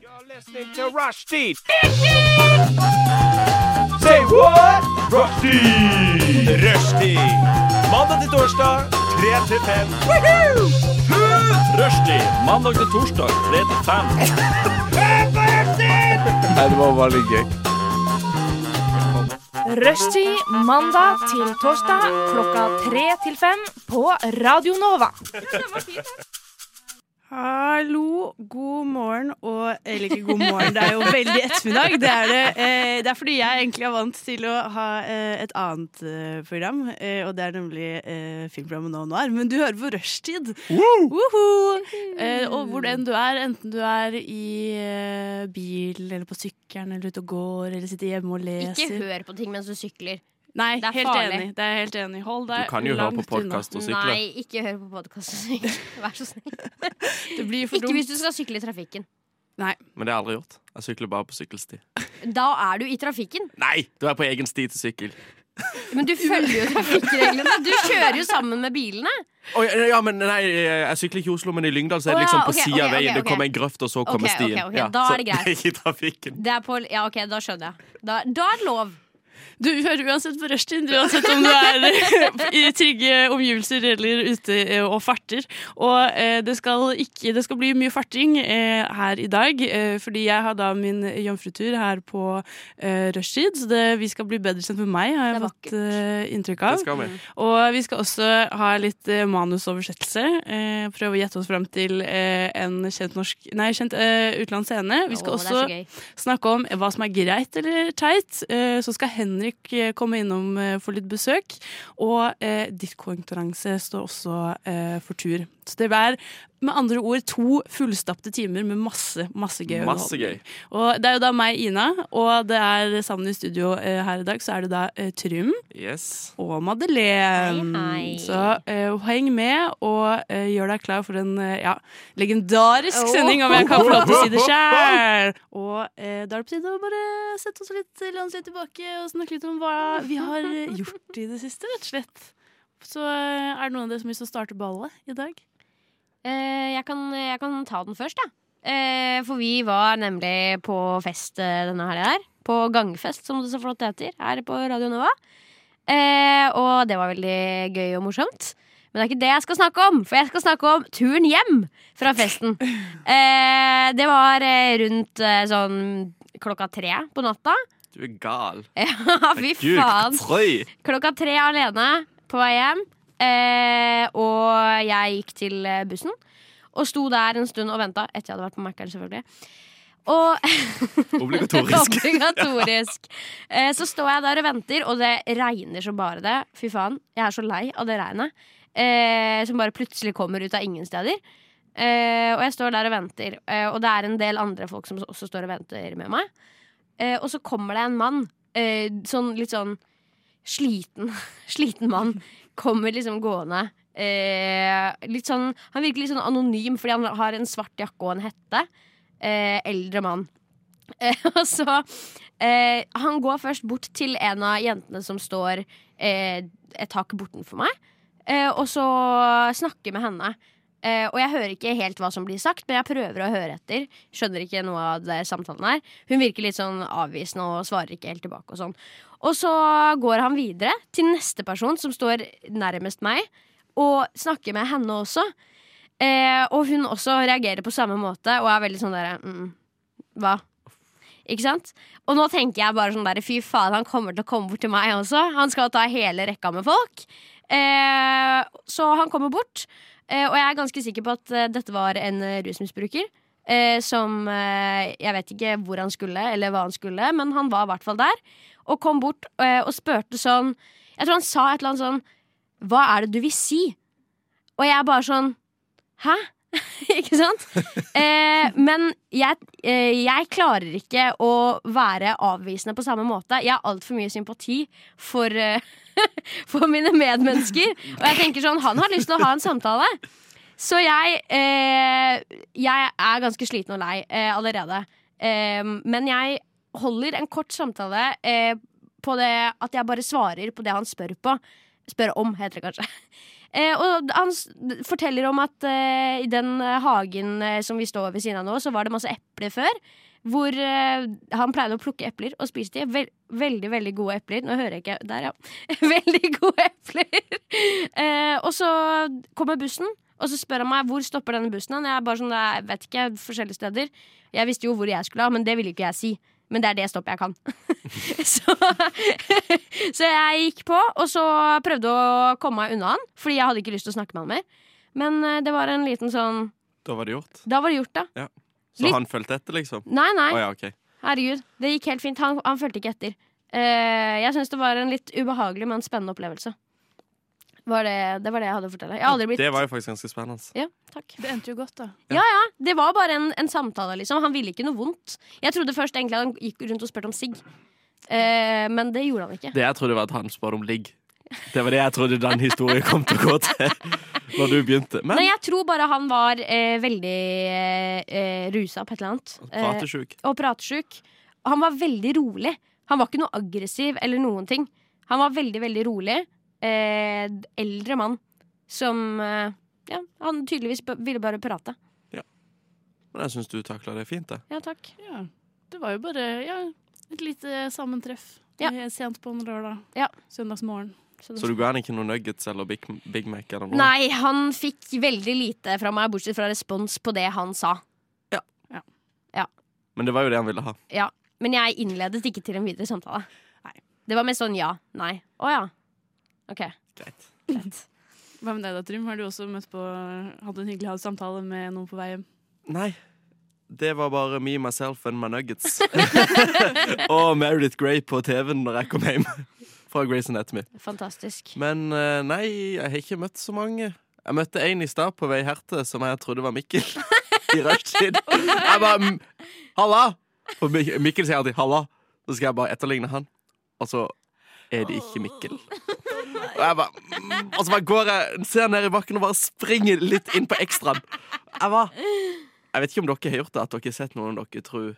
You're listening to Rushdie. Say what? Rushdie. Rushdie. Mandag til torsdag, 3 til 5. Rushdie. Mandag til torsdag, 3 til 5. Rushtid mandag til torsdag klokka tre til fem på Radio Nova. Hallo, god morgen og Eller ikke god morgen, det er jo veldig ettermiddag. Det er, det, eh, det er fordi jeg egentlig er vant til å ha eh, et annet eh, program, eh, og det er nemlig eh, filmprogrammet Nå og Noir. Men du hører på Rushtid! Woho! Eh, og hvor enn du er, enten du er i eh, bilen eller på sykkelen eller ute og går eller sitter hjemme og Ikke leser hør på ting mens du sykler. Nei, Det er helt farlig. enig. Det er jeg helt enig. Hold deg Du kan jo høre langt på podkast og sykle. Nei, ikke hør på podkast og sykle. Vær så snill. unna. Det blir for Ikke hvis dumt. du skal sykle i trafikken. Men det har jeg aldri gjort. Jeg sykler bare på sykkelsti. Da er du i trafikken. Nei! Du er på egen sti til sykkel. Men du følger jo trafikkreglene. Du kjører jo sammen med bilene. Oi, ja, men nei, jeg sykler ikke i Oslo, men i Lyngdal så Å, er ja, det liksom på ok, siden ok, av veien. ok, ok. Det kommer en grøft, og så kommer ok, stien. ok, da så er det greit. Ikke i trafikken. Det er på, ja, ok, Da skjønner jeg. Da, da er det lov. Du hører uansett på rushtid, uansett om du er i trygge omgivelser eller ute eh, og farter. Og eh, det, skal ikke, det skal bli mye farting eh, her i dag, eh, fordi jeg har da min jomfrutur her på eh, rushtid. Så det, vi skal bli bedre kjent med meg, har jeg Det fått eh, inntrykk Det av. skal vi. Og vi skal også ha litt eh, manusoversettelse. Eh, prøve å gjette oss fram til eh, en kjent, norsk, nei, kjent eh, utenlandsk scene. Vi skal Å, også det er så gøy. snakke om hva som er greit eller teit. Eh, Så skal Henrik eh, komme innom eh, for litt besøk. Og eh, diktkonkurranse står også eh, for tur. Så det er med andre ord to fullstapte timer med masse, masse gøy. Masse gøy. Og det er jo da meg, Ina, og det er sammen i studio eh, her i dag, så er det da eh, Trym Yes. og Madeleine. Hei, hei. Så eh, heng med, og eh, gjør deg klar for en eh, ja, legendarisk Oh. sending, om jeg kan få lov til å si det sjøl. Og eh, da er det på tide å bare sette oss litt, lene oss litt tilbake og snakke litt om hva vi har eh, gjort i det siste, rett og slett. Så eh, er det noen av dere som har lyst til å starte ballet i dag? Eh, jeg, kan, jeg kan ta den først, jeg. Eh, for vi var nemlig på fest eh, denne helga her. På gangfest, som det så flott heter, her på Radio Nova. Eh, og det var veldig gøy og morsomt. Men det er ikke det jeg skal snakke om, for jeg skal snakke om turen hjem fra festen. Eh, det var eh, rundt eh, sånn klokka tre på natta. Du er gal. Ja, fy Gud, faen! Frøy. Klokka tre alene på vei hjem. Eh, og jeg gikk til eh, bussen. Og sto der en stund og venta, etter jeg hadde vært på Mækkern, selvfølgelig. Og Obligatorisk. obligatorisk. Eh, så står jeg der og venter, og det regner som bare det. Fy faen, jeg er så lei av det regnet. Eh, som bare plutselig kommer ut av ingen steder. Eh, og jeg står der og venter, eh, og det er en del andre folk som også står og venter med meg. Eh, og så kommer det en mann, eh, sånn litt sånn sliten, sliten mann, kommer liksom gående. Eh, litt sånn, han virker litt sånn anonym fordi han har en svart jakke og en hette. Eh, eldre mann. Eh, og så eh, Han går først bort til en av jentene som står eh, et hakk bortenfor meg, eh, og så snakker med henne. Eh, og jeg hører ikke helt hva som blir sagt, men jeg prøver å høre etter. Skjønner ikke noe av det samtalen her. Hun virker litt sånn avvisende og svarer ikke helt tilbake. Og sånn Og så går han videre til neste person, som står nærmest meg, og snakker med henne også. Eh, og hun også reagerer på samme måte og er veldig sånn derre mm, Hva? Ikke sant? Og nå tenker jeg bare sånn der Fy faen, han kommer til å komme bort til meg også. Han skal ta hele rekka med folk. Eh, så han kommer bort, eh, og jeg er ganske sikker på at eh, dette var en eh, rusmisbruker. Eh, som eh, Jeg vet ikke hvor han skulle, eller hva han skulle, men han var i hvert fall der. Og kom bort eh, og spurte sånn Jeg tror han sa et eller annet sånn Hva er det du vil si? Og jeg er bare sånn Hæ? ikke sant? Eh, men jeg, eh, jeg klarer ikke å være avvisende på samme måte. Jeg har altfor mye sympati for, eh, for mine medmennesker. Og jeg tenker sånn, han har lyst til å ha en samtale. Så jeg, eh, jeg er ganske sliten og lei eh, allerede. Eh, men jeg holder en kort samtale eh, på det at jeg bare svarer på det han spør på. Spør om, heter det kanskje. Eh, og han s- forteller om at eh, i den eh, hagen eh, som vi står ved siden av nå, så var det masse epler før. Hvor eh, han pleide å plukke epler og spise de. Vel, veldig, veldig gode epler. Nå hører jeg ikke Der, ja. Veldig gode epler. Eh, og så kommer bussen, og så spør han meg hvor stopper denne bussen. hen? Jeg er bare sånn, jeg vet ikke, forskjellige steder. Jeg visste jo hvor jeg skulle, ha, men det ville ikke jeg si. Men det er det stoppet jeg kan. så, så jeg gikk på, og så prøvde å komme meg unna han. Fordi jeg hadde ikke lyst til å snakke med han mer. Men eh, det var en liten sånn Da var det gjort. Da var det gjort, da. Så Litt- han fulgte etter, liksom? Nei, nei. Å ja, OK. Herregud. Det gikk helt fint. Han, han fulgte ikke etter. Eh, jeg syns det var en litt ubehagelig, men spennende opplevelse. Var det, det var det jeg hadde å fortelle. Jeg har aldri blitt Det var jo faktisk ganske spennende. Ja, takk. Det endte jo godt, da. Det var bare en, en samtale, liksom. Han ville ikke noe vondt. Jeg trodde først egentlig at han gikk rundt og spurte om sigg, Eh, men det gjorde han ikke. Det jeg trodde var at han spurte om ligg. Det var det jeg trodde den historien kom til å gå til når du begynte. Men Nei, jeg tror bare han var eh, veldig eh, rusa på et eller annet. Eh, pratesjuk. og pratesjuk. Han var veldig rolig. Han var ikke noe aggressiv eller noen ting. Han var veldig, veldig rolig. Eh, eldre mann som eh, Ja, han tydeligvis b ville bare prate. Eh. Men jeg syns du takla det fint, det. Ja, takk. Ja. Det var jo bare ja, et lite sammentreff Ja. eh, sent på en lørdag. Ja. Søndagsmorgen. Så du ga han ikke noen nuggets eller Big, Big Mac eller noe? Nei, han fikk veldig lite fra meg, bortsett fra respons på det han sa. Men det var jo det han ville ha. Ja, Men jeg innledet ikke til en videre samtale. Nei. Det var mest sånn ja, nei. Å ja. OK. Greit. Greit. Hva med deg da, Trym? Har du også møtt på Hadde en hyggelig samtale med noen på vei hjem? Nei. Det var bare me, myself and my nuggets. og Meredith Grey på TV-en når jeg kom hjem fra Grace Anatomy. Fantastisk. Men eh, nei, jeg har ikke møtt så mange. Jeg møtte en i stad på vei her til som jeg trodde var Mikkel. I rushtid. Jeg bare "Mm, 'Halla!' Og Mik- Mikkel sier alltid 'halla'. Så skal jeg bare etterligne han. Og så er det ikke Mikkel. Og, jeg bare, "Mm." og så bare går jeg, ser jeg ned i bakken og bare springer litt inn på ekstraen. Jeg bare Jeg vet ikke om dere har gjort det, at dere har sett noen dere tror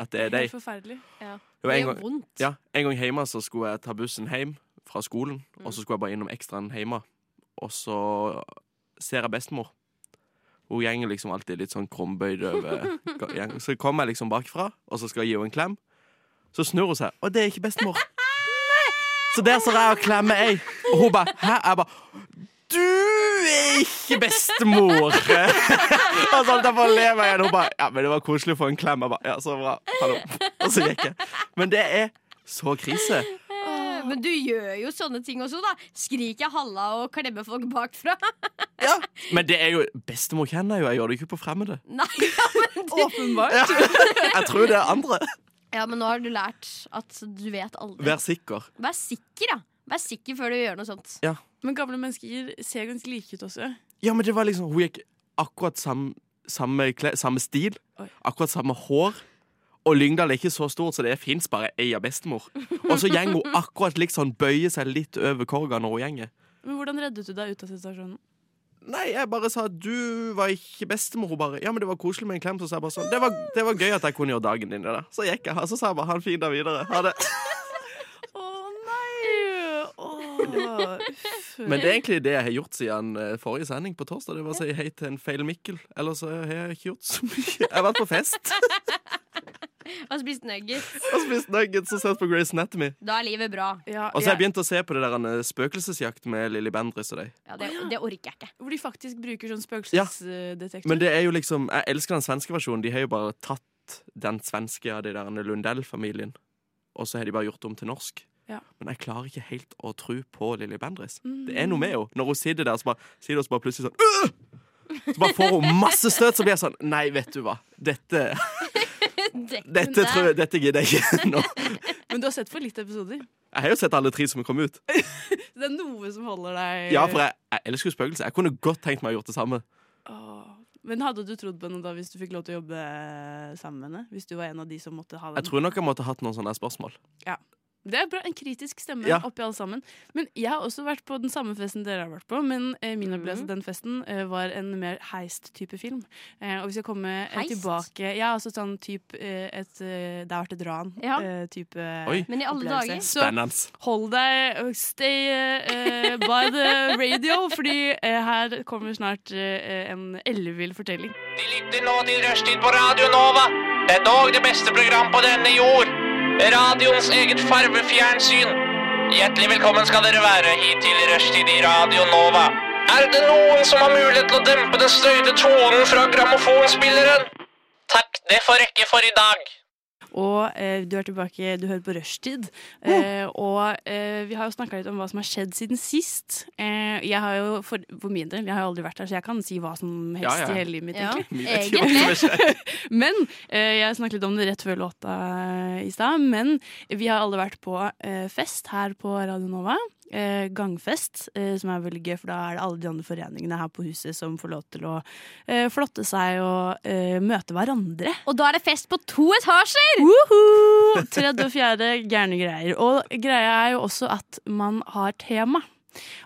at det er Det deg. er forferdelig. Det var Det en gjør gang, vondt. ja, en gang hjemme så skulle jeg ta bussen hjem fra skolen, og så skulle jeg bare innom ekstraen hjemme. Og så ser jeg bestemor. Hun gjenger liksom alltid litt sånn krumbøyd over gang. Så kommer jeg liksom bakfra, og så skal jeg gi henne en klem. Så snur hun seg, og det er ikke bestemor. Så der står jeg og klemmer ei, og hun bare Hæ? Jeg bare Du er ikke bestemor! og så holdt jeg på å le meg igjen. Hun bare Ja, men det var koselig å få en klem. Jeg bare Ja, så bra. Hallo. Og så gikk jeg. Men det er så krise. Eh, Men du gjør jo sånne ting også, da. Skriker halla og klemmer folk bakfra. Ja. Men det er jo Bestemor kjenner jeg jo, jeg gjør det jo ikke på fremmede. Nei, ja, men du, Åpenbart. Ja. Jeg tror det er andre. ja, men nå har du lært at du vet aldri. Vær sikker. Vær sikker, da. Vær sikker før du gjør noe sånt. Men gamle mennesker ser ganske like ut også. Ja, men det var liksom Hun gikk akkurat sam, samme, kle, samme stil, Oi. akkurat samme hår. Og Lyngdal er ikke så stort, så det fins bare ei av bestemor. Og så går hun akkurat litt sånn, bøyer seg litt over korga når hun gjenger. Men hvordan reddet du deg ut av situasjonen? Nei, jeg bare sa at du var ikke bestemor. Hun bare Ja, men det var koselig med en klem. Så sa jeg bare sånn Det var, det var gøy at jeg kunne gjøre dagen din. det der. Så gikk jeg, og så sa jeg bare ha en fin dag videre. Ha det. Å nei! Åh, uff. Men det er egentlig det jeg har gjort siden eh, forrige sending på torsdag. Det var å si hei til en feil Mikkel. Ellers så har jeg ikke gjort så mye. Jeg har vært på fest Har spist nuggets. og spist nuggets og sett på Grace Anatomy. Da er livet bra. ja, Og så har jeg jeg, begynt å se på det der eh, Spøkelsesjakt med Lilly Bendriss og deg. Ja, det, det orker jeg ikke. hvor de faktisk bruker sånn Ja. spøkelsesdetektor. Men det er jo liksom Jeg elsker den svenske versjonen. De har jo bare tatt den svenske av de der Lundell-familien, og så har de bare gjort det om til norsk. Ja. Men jeg klarer ikke helt å tro på Lilly Bendriss. Mm. Det er noe med henne. Når hun sitter der, så bare, sier hun så bare plutselig sånn «Øh!» Så bare får hun masse støt, så blir jeg sånn Nei, vet du hva. Dette, dette, tror jeg, dette gidder jeg ikke nå. Men du har sett for litt episoder. Jeg har jo sett alle tre som kom ut. Så det er noe som holder deg Ja, for jeg, jeg elsker jo spøkelser. Jeg kunne godt tenkt meg å gjort det samme. Åh. Men hadde du trodd på henne da hvis du fikk lov til å jobbe eh, sammen med henne? Hvis du var en av de som måtte ha den? Jeg tror nok jeg måtte hatt noen sånne spørsmål. Det er bra, En kritisk stemme Ja. oppi alle sammen. Men Jeg har også vært på den samme festen dere har vært på. Men eh, Mhm. min opplevelse av den festen eh, var en mer heist-type film. Eh, og vi skal komme eh, Heist? tilbake Ja, altså sånn type eh, et, eh, Det har vært et ran. Ja. Eh, type Oi. Men i alle Opplevelse. dager Så Spennende. hold deg og stay eh, by the radio, fordi eh, her kommer snart eh, en ellevill fortelling. De lytter nå til Rushtid på Radio Nova. Det er dog det beste program på denne jord. Radions eget farvefjernsyn. Hjertelig velkommen skal dere være hit til Rushtid i Radio Nova. Er det noen som har mulighet til å dempe den støyte tonen fra grammofonspilleren? Takk, det får rekke for i dag. Og eh, du er tilbake, du hører på Rushtid. Eh, og eh, vi har jo snakka litt om hva som har skjedd siden sist. Eh, jeg har jo, for, for min del, jeg har jo aldri vært her, så jeg kan si hva som helst Ja, ja. i hele livet mitt. Ja, egentlig. Vi vet ikke hva egentlig. som er skjedd. Men eh, jeg snakket litt om det rett før låta eh, i stad. Men vi har alle vært på eh, fest her på Radio Nova. Eh, gangfest, eh, som er veldig gøy, for da er det alle de andre foreningene her på huset som får lov til å eh, flotte seg og eh, møte hverandre. Og da er det fest på to etasjer! Woho! Tredje og fjerde gærne greier. Og greia er jo også at man har tema.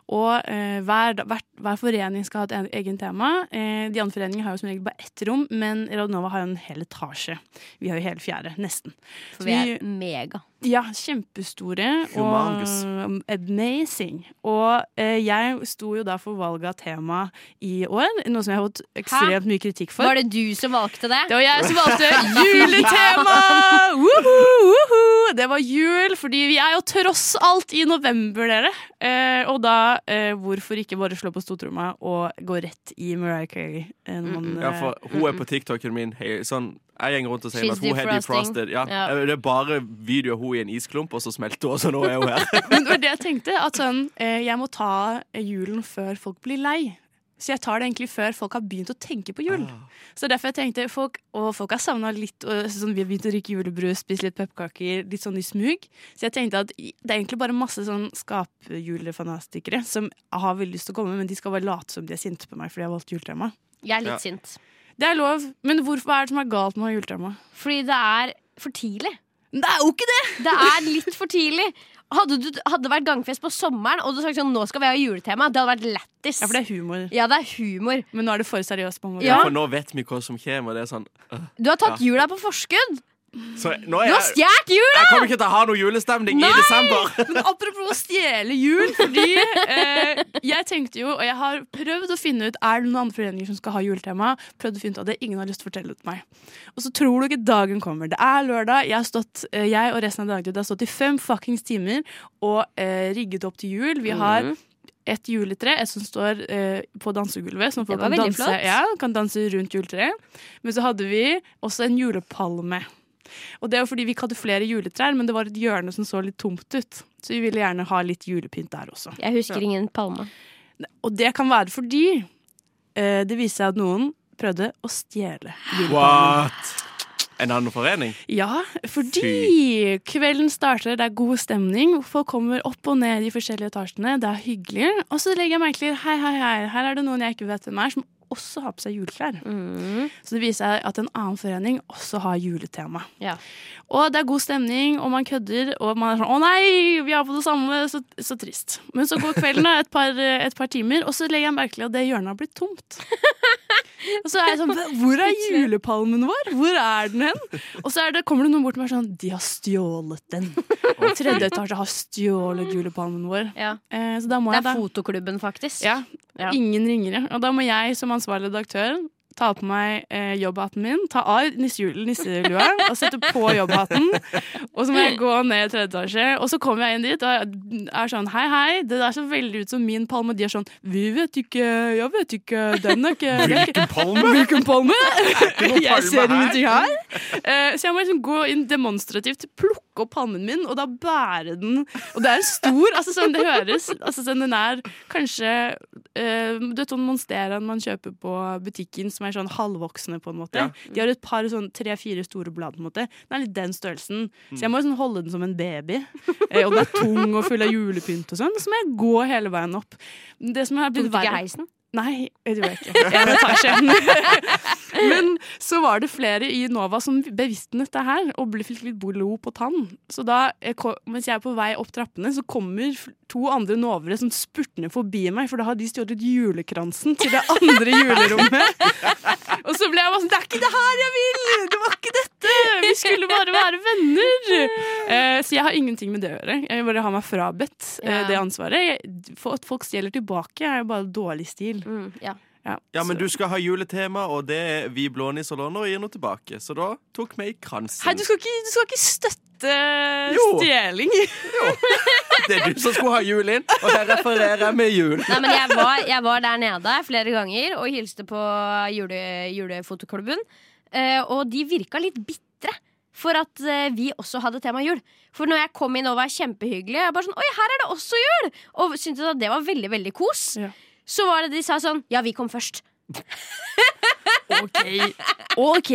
Og eh, hver, hver, hver forening skal ha et en- egen tema. Eh, de andre foreningene har jo som regel bare ett rom, men Radionova har jo en hel etasje. Vi har jo hele fjerde, nesten. For vi er mega. Ja, kjempestore Humongous. og um, amazing. Og eh, jeg sto jo da for valget av tema i år, noe som jeg har fått ekstremt mye kritikk for. Var det du som valgte det? Det var jeg som valgte juletema! Woho, woho! Det var jul, fordi vi er jo tross alt i november, dere. Eh, og da, eh, hvorfor ikke bare slå på stortromma og gå rett i Mariah Carey? eh, når man, Ja, for hun er på TikToken min. Hei, sånn, jeg går rundt og sier She's at hun er defrosting. defrosted. Ja. Ja. Det er bare videoer hun i en isklump, og så smelter hun, så nå er hun her. eh, men det var det jeg tenkte, at sånn, eh, jeg må ta julen før folk blir lei. Så jeg tar det egentlig før folk har begynt å tenke på jul. Så derfor jeg tenkte folk, Og folk har savna litt og, sånn, Vi har begynt å drikke julebrus, spise litt pepperkaker, litt sånn i smug. Så jeg tenkte at i- det er egentlig bare masse sånn skapjulefanatikere som har veldig lyst til å komme, men de skal bare late som de er sinte på meg fordi jeg har valgt juletema. Jeg er litt Ja. sint. Det er lov, men hvorfor hva er det som er galt med å ha juletema? Fordi det er for tidlig. Men Det er jo ikke det! Det er litt for tidlig. Hadde, du, hadde det vært gangfest på sommeren og du sagt sånn, nå skal vi ha juletema, det hadde vært lættis. Ja, for det er humor. Ja, det er humor. Men nå er det for seriøst. på en måte. Ja. For nå vet vi hva som kommer. og Det er sånn. Du har tatt jula på forskudd! Så nå er Du har jeg, stjålet jula! jeg kommer ikke til å ha noe julestemning i desember! Men apropos å stjele jul, fordi eh, jeg tenkte jo, og jeg har prøvd å finne ut Er det noen andre foreninger som skal ha juletema. Prøvd å finne ut av det, Ingen har lyst til å fortelle det til meg. Og så tror du ikke dagen kommer. Det er lørdag. Jeg, har stått, eh, jeg og resten av dagtid har stått i fem fuckings timer og eh, rigget opp til jul. Vi har Mhm. et juletre, et som står eh, på dansegulvet, som folk var kan veldig danse, flott. ja, kan danse rundt juletreet. Men så hadde vi også en julepalme. Og det var fordi vi ikke hadde flere juletrær, men det var et hjørne som så litt tomt ut. Så vi ville gjerne ha litt julepynt der også. Jeg husker ingen palme. Og det kan være fordi eh, det viste seg at noen prøvde å stjele julepalmen. What? En annen forening? Ja, fordi kvelden starter, det er god stemning, folk kommer opp og ned i forskjellige etasjene, det er hyggelig. Og så legger jeg merke til hei, hei, hei, her er det noen jeg ikke vet hvem er, som også har på seg juleklær. Så det viser seg at en annen forening også har juletema. Ja. Og det er god stemning, og man kødder, og man er sånn 'Å nei, vi har på det samme!' Så, så trist. Men så går kvelden, da, et par, et par timer, og så legger jeg merke til at det hjørnet har blitt tomt. Og så er jeg sånn 'Hvor er julepalmen vår? Hvor er den hen?' Og så er det, kommer det noen bort og er sånn 'De har stjålet den'. Tredje etasje har stjålet julepalmen vår. Ja. Eh, så da må Det jeg er da fotoklubben, faktisk. ja, Ja. Ingen ringere. Og da må jeg som ansvarlig redaktør ta på meg eh, jobbhatten min, ta av nissehjulet, nisselua og sette på jobbhatten. Og så må jeg gå ned i tredje etasje, og så kommer jeg inn dit og er sånn Hei, hei, det der ser veldig ut som min palme. Og de er sånn Vi vet ikke, jeg vet ikke, den er ikke det er ikke- Palme? Hvilken palme? noe palme Jeg ser her. ingenting her. Eh, Så jeg må liksom gå inn demonstrativt, plukke opp palmen min, og da bære den. Og det er en stor, altså sånn det høres, altså sånn den er kanskje eh, Du vet sånn Monsteraen man kjøper på butikken som er sånn halvvoksne, på en måte. Ja. De har et par sånn tre-fire store blad, på en måte. Den er litt den størrelsen. Så jeg må liksom holde den som en baby. Eh, Og den er tung og full av julepynt og sånn. Så må jeg gå hele veien opp. Det som har Tok blitt du ikke verre heisen? Nei, det gjorde jeg ikke. En etasje. Men så var det flere i Nova som bevisstnet det her, og ble fikk litt blod på tann. Så da, jeg ko- mens jeg er på vei opp trappene, så kommer f- to andre novere som spurtende forbi meg, for da har de stjålet julekransen til det andre julerommet. Og så ble jeg bare sånn Det er ikke det her jeg vil! Det var ikke dette! Vi skulle bare være venner! Eh, så jeg har ingenting med det å gjøre. Jeg vil bare ha meg frabedt eh, Ja. det ansvaret. Jeg, for at folk stjeler tilbake, er jo bare dårlig stil. Mm, ja. Ja. Ja, men du skal ha juletema, og det er vi blånisser låner og gir noe tilbake. Så da tok vi i kransen. Hei, du skal ikke, du skal ikke støtte Jo. stjeling. Det er du som skulle ha jul inn, og her refererer jeg med jul. Nei, men jeg var, jeg var der nede flere ganger og hilste på jule, julefotoklubben. Eh, og de virka litt bitre for at eh, vi også hadde tema jul. For når jeg kom inn og var kjempehyggelig, jeg bare sånn, oi, her er det også jul! Og syntes at det var veldig, veldig kos. Ja. Så var det de sa sånn, ja, vi kom først. OK. OK.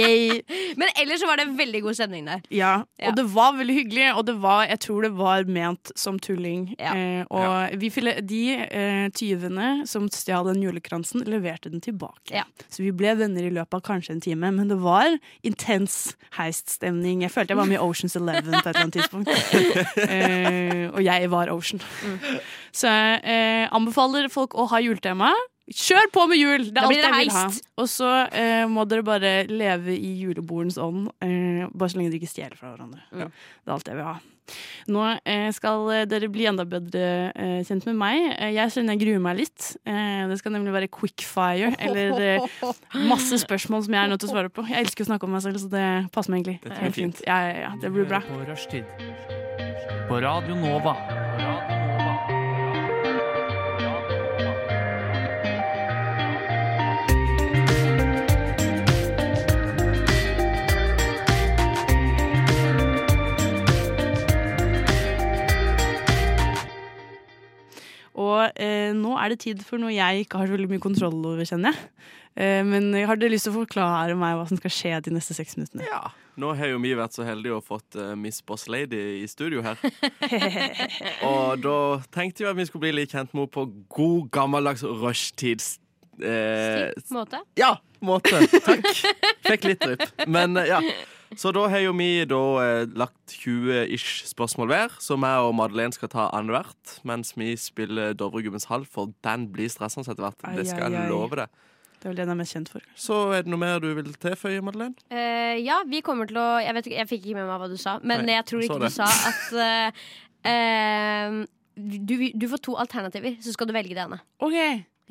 Men ellers så var det veldig god stemning der. Ja, Ja. og det var veldig hyggelig, og det var, jeg tror det var ment som tulling. Ja. Eh, og vi fille, de eh, tyvene som stjal den julekransen, leverte den tilbake. Ja. Så vi ble venner i løpet av kanskje en time, men det var intens heiststemning. Jeg følte jeg var med i Oceans Eleven på et eller annet tidspunkt. eh, og jeg var Ocean. Mm. Så jeg eh, anbefaler folk å ha juletema. Kjør på med jul! Det er Da alt blir det jeg vil ha. heist. Og så eh, må dere bare leve i julebordens ånd, eh, bare så lenge dere ikke stjeler fra hverandre. Mm. Det er alt jeg vil ha. Nå eh, skal eh, dere bli enda bedre eh, kjent med meg. Eh, jeg kjenner jeg gruer meg litt. Eh, det skal nemlig være quickfire, eller eh, masse spørsmål som jeg er nødt til å svare på. Jeg elsker å snakke om meg selv, så det passer meg egentlig. Dette Helt blir fint. Ja, ja, ja, det blir bra. På rushtid. På Radio Nova. Og eh, nå er det tid for noe jeg ikke har så veldig mye kontroll over, kjenner jeg. Eh, men har dere lyst til å forklare meg hva som skal skje de neste seks minuttene? Ja. Nå har jo vi vært så heldige og fått eh, Miss Boss Lady i studio her. og da tenkte jeg at vi skulle bli litt kjent med henne på god gammeldags rushtids... Eh, På en måte. ja, måte. Takk. Fikk litt drypp. Men eh, ja. Så da har jo vi da eh, lagt 20-ish spørsmål hver, som jeg og Madeleine skal ta annethvert, mens vi spiller Dovregubbens hall, for den blir stressende etter hvert. Det Ai, skal ai, ai. jeg love deg. Det er vel det den er mest kjent for. Så er det noe mer du vil tilføye, Madeleine? Eh, ja, vi kommer til å Jeg, vet, ikke- jeg fikk ikke med meg hva du sa, men Nei, jeg tror jeg ikke så du det. sa at eh, eh, du, du får to alternativer, så skal du velge det ene. Ok.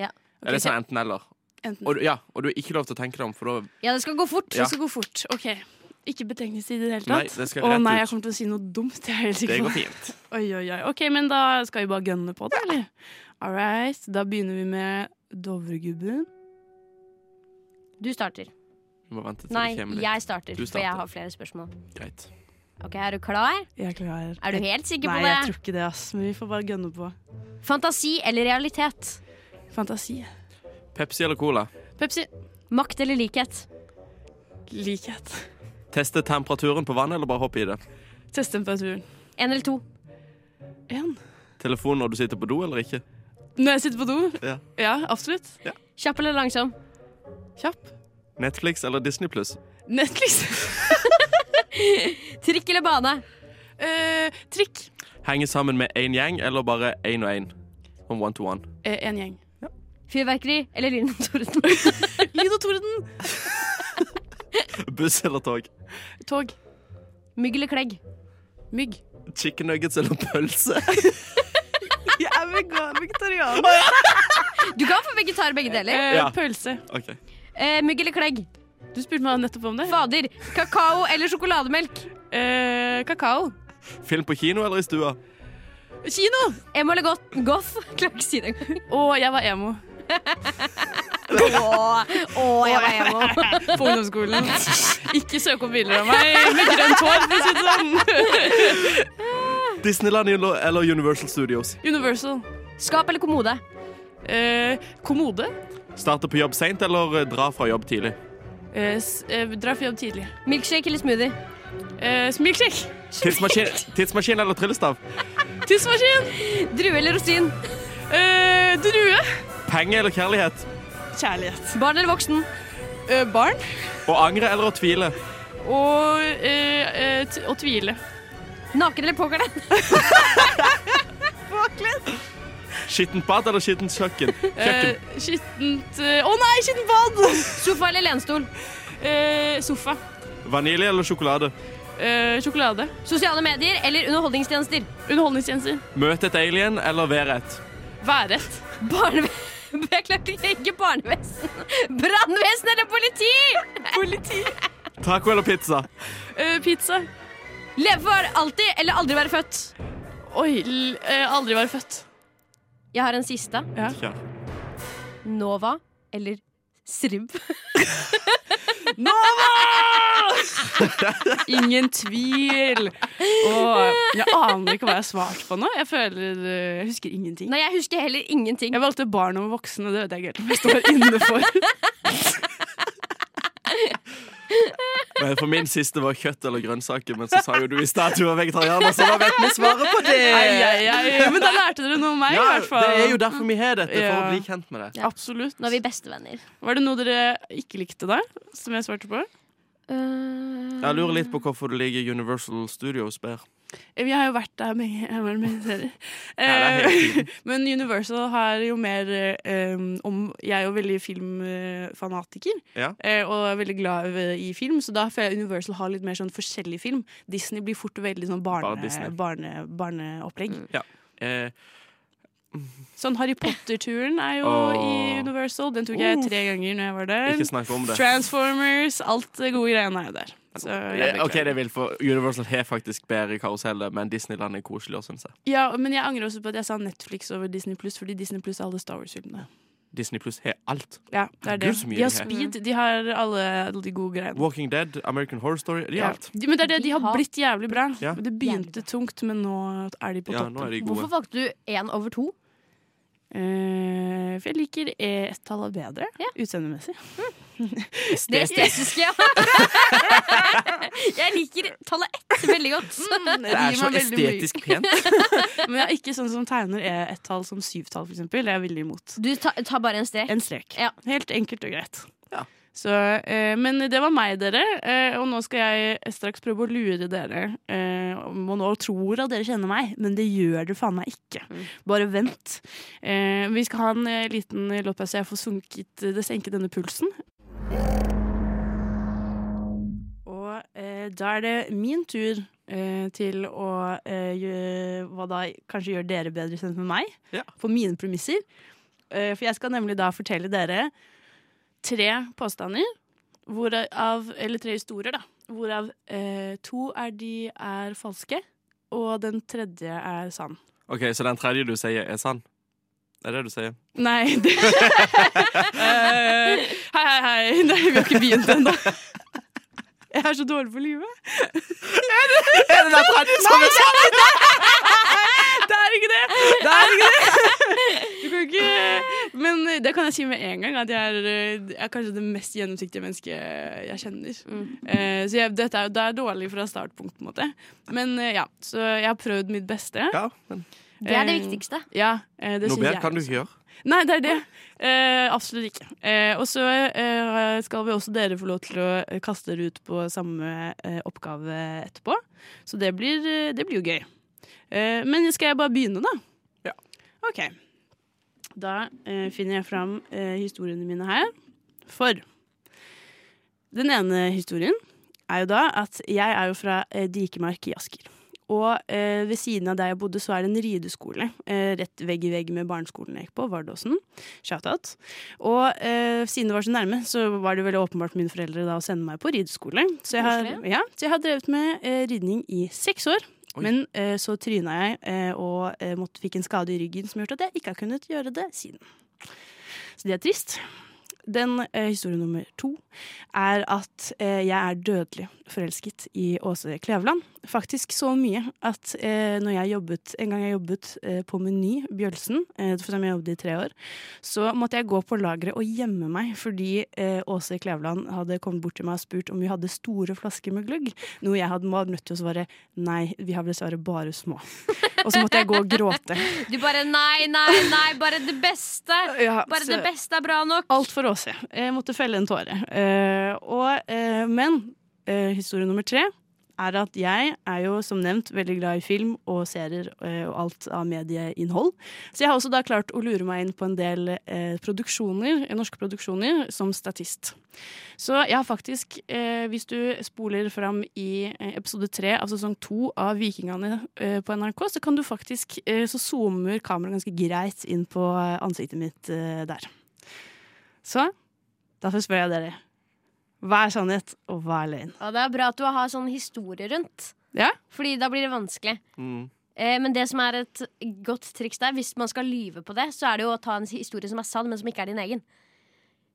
Ja. Eller så enten-eller. Enten. Og, du- ja, og du har ikke lov til å tenke deg om, for da Ja, det skal gå fort. Ja. Det skal gå fort. Ok. Ikke betenkningstid i det hele Nei, tatt. det skal Å rett nei, ut. jeg kommer til å si noe dumt. Jeg er helt Det sikker går på. fint. Oi, oi, oi. Ok, men da skal vi bare gønne på det, eller? All right. Da begynner vi med Dovregubben. Du starter. Vi må vente til Nei, det kommer litt. jeg starter, Du for jeg starter. har flere spørsmål. Greit. Ok, Er du klar? Jeg er klar. Er du helt sikker Nei, på det? jeg tror ikke det, ass. Men vi får bare gønne på. Fantasi eller realitet? Fantasi. Pepsi eller cola? Pepsi. Makt eller likhet? Likhet. Teste temperaturen på vannet, eller bare hoppe i det? Testtemperaturen. Én eller to? Én. Telefon når du sitter på do, eller ikke? Når jeg sitter på do? Ja. absolutt. Kjapp eller langsom? Kjapp. Netflix eller Disney pluss? Netflix. Trikk eller bane? Eh, trikk. Henge sammen med én gjeng, eller bare én og én? Om one to one. Eh, en gjeng. Fyrverkeri eller lyn og torden? Lyd og torden. Buss eller tog? Tog. Mygg eller klegg? Mygg. Chicken nuggets eller pølse? Jeg er vegan, vegetarianer. Du kan få vegetar begge deler. Eh, Ja. Pølse. OK. Eh, mygg eller klegg? Du spurte meg nettopp om det. Fader. Kakao eller sjokolademelk? Eh, kakao. Film på kino eller i stua? Kino! Emo eller godt? goff? Klarer ikke å si det engang. Og jeg var emo Åh, åh, jeg var emo. på ungdomsskolen. Ikke søk opp bilder av meg med grønt hår, for å si det sånn. Disneyland eller Universal Studios? Universal. Skap eller kommode? Eh, kommode. Starte på jobb seint eller dra fra jobb tidlig? Eh, s- eh, dra for jobb tidlig. Milkshake eller smoothie? Eh, milkshake. Tidsmaskin, tidsmaskin eller tryllestav? Tidsmaskin. Drue eller rosin? Eh, drue. Penger eller kjærlighet? Kjærlighet. Barn eller voksen? Eh, barn. Å angre eller å tvile? Og, eh, eh, t og tvile. Naken eller påkledd? Skittent bad eller skittent kjøkken? Eh, kjøkken? skittent eh, Å nei, skittent bad! Sofa eller lenstol? Eh, sofa. Vanilje eller sjokolade? Eh, sjokolade. Sosiale medier eller underholdningstjenester? Underholdningstjenester. Møte et alien eller være et? Værrett. Barne Jeg klarte ikke ikke barnevesen. Brannvesen eller politi! Politi. Taco eller pizza? Eh, pizza. Leve for alltid eller aldri være født. Oi, l eh, aldri være født. Jeg har en siste. Kjør. Nova eller Srib. Nova! Ingen tvil. Åh, jeg aner ikke hva jeg har svart på nå. Jeg føler, eh, jeg husker ingenting. Nei, jeg husker heller ingenting. Jeg valgte barn over voksne, det vet jeg ikke helt om jeg står inne for. Men For min siste var kjøtt eller grønnsaker, men så sa jo du i stad at du var vegetarianer, så da vet vi svaret på det! Ai, ai, ai. Men da lærte dere noe om meg, Eh. Ja, i hvert fall. det er jo derfor vi har dette, for å Ja. bli kjent med det. Ja. Absolutt. Nå er vi bestevenner. Var det noe dere ikke likte da, som jeg svarte på? Øh, Jeg lurer litt på hvorfor du liker Universal Studios bedre. Vi har jo vært der med, jeg var med dere. Ja, det er helt Eh, Men Universal har jo mer eh, om Jeg er jo veldig filmfanatiker Ja. eh, og er veldig glad i- i film, så da føler jeg Universal har litt mer sånn forskjellig film. Disney blir fort veldig sånn barne, Bare Disney. barne, barneopplegg. Eh, Sånn Harry Potter-turen er jo Åh. i Universal. Den tok jeg tre ganger når jeg var der. ikke snakk om det. Transformers, alt det gode greiene er jo der. Så jeg Eh, ok, det vil for Universal har faktisk bedre karuseller, men Disneyland er koseligere, syns jeg. Ja, men jeg angrer også på at jeg sa Netflix over Disney Pluss, fordi Disney Pluss er alle Star Wars-filmene. Disney Pluss har alt. Ja, det er Gud, det. så mye De har de har. Speed, de har alle, alle de gode greiene. Walking Dead, American Horror Story, de Ja. har alt. De- Men det er det, de De har har blitt jævlig bra. Ja. Det begynte tungt, men nå er de på Ja, nå toppen. er de hvorfor gode. valgte du én over to? Eh, for jeg liker E-tallet bedre, Ja. utseendemessig. Mm. Det estetiske. ja. jeg liker tallet ett veldig godt. Mm. Det er så estetisk pent. Men jeg er ikke sånn som tegner E-tall som syvtall, for eksempel. Det er jeg veldig imot. Du ta- tar bare en strek. En strek. Ja. Helt enkelt og greit. Ja. Så, eh, men det var meg, dere. Eh, og nå skal jeg straks prøve å lure dere. Eh, og nå tror at dere kjenner meg, men det gjør dere faen meg ikke. Mm. Bare vent. Eh, vi skal ha en eh, liten låtpause, så jeg får sunket, eh, det senket denne pulsen. Og eh, da er det min tur eh, til å eh, gjø- hva da kanskje gjør dere bedre kjent med meg, Ja. på mine premisser. Eh, for jeg skal nemlig da fortelle dere tre påstander, hvorav, eller tre historier, da. Hvorav eh, to er de er falske, og den tredje er sann. Ok, Så den tredje du sier, er sann? Det er det du sier? Nei det Eh, Hei, hei, hei. Nei, vi har ikke begynt ennå. Jeg er så dårlig på livet. Er det den tredje som er sann? Det er ikke det! Det er ikke det! Du kan ikke Men det kan jeg si med en gang, at jeg er, eh, jeg er kanskje det mest gjennomsiktige mennesket jeg kjenner. Eh, så jeg, dette er, jo- det er dårlig fra startpunkt, på en måte. Men eh, ja, så jeg har prøvd mitt beste. Ja, men Det er det Eh, viktigste. Ja, eh, det noe sier bedre jeg kan du også. ikke gjøre. Nei, det er det. Eh, absolutt ikke. Eh, og så eh, skal vi også dere få lov til å eh, kaste dere ut på samme eh, oppgave etterpå. Så det blir, eh, det blir jo gøy. Eh, men skal jeg bare begynne, da? Ja. OK. Da eh, finner jeg fram eh, historiene mine her. For den ene historien er jo da at jeg er jo fra eh, Dikemark i Asker. Og eh, ved siden av der jeg bodde, så er det en rideskole. Eh, rett vegg i vegg med barneskolen jeg gikk på, Vardåsen. Shoutout. Og eh, siden det var så nærme, så var det veldig åpenbart mine foreldre da å sende meg på rideskole. Så jeg har, Koselig. ja, så jeg har drevet med eh, ridning i seks år. Oi. Men eh, så tryna jeg eh, og eh, måtte, fikk en skade i ryggen som gjorde at jeg ikke har kunnet gjøre det siden. Så det er trist. Den eh, historien nummer to er at eh, jeg er dødelig forelsket i Åse Kleveland. Faktisk så mye at eh, når jeg jobbet, en gang jeg jobbet eh, på Meny Bjølsen, eh, for som jeg jobbet i tre år, så måtte jeg gå på lageret og gjemme meg fordi eh, Åse Kleveland hadde kommet bort til meg og spurt om vi hadde store flasker med gløgg, noe jeg hadde var nødt til å svare nei, vi har dessverre bare små. Og så måtte jeg gå og gråte. Du bare nei, nei, nei, bare det beste. Ja, Bare så- det beste er bra nok. Alt for Åse. Jeg måtte felle en tåre. Eh, og, eh, men eh, historie nummer tre er at jeg er jo som nevnt veldig glad i film og serier eh, og alt av medieinnhold. Så jeg har også da klart å lure meg inn på en del eh, produksjoner, eh, norske produksjoner som statist. Så jeg har faktisk, eh, hvis du spoler fram i eh, episode tre av sesong to av Vikingene eh, på NRK, så kan du faktisk, eh, så zoomer kameraet ganske greit inn på eh, ansiktet mitt eh, der. Så derfor spør jeg dere. Hva er sannhet, og hva er løgn? Og det er bra at du har sånn historie rundt. Ja? Fordi da blir det vanskelig. Mm. Eh, men det som er et godt triks der, hvis man skal lyve på det, så er det jo å ta en historie som er sann, men som ikke er din egen.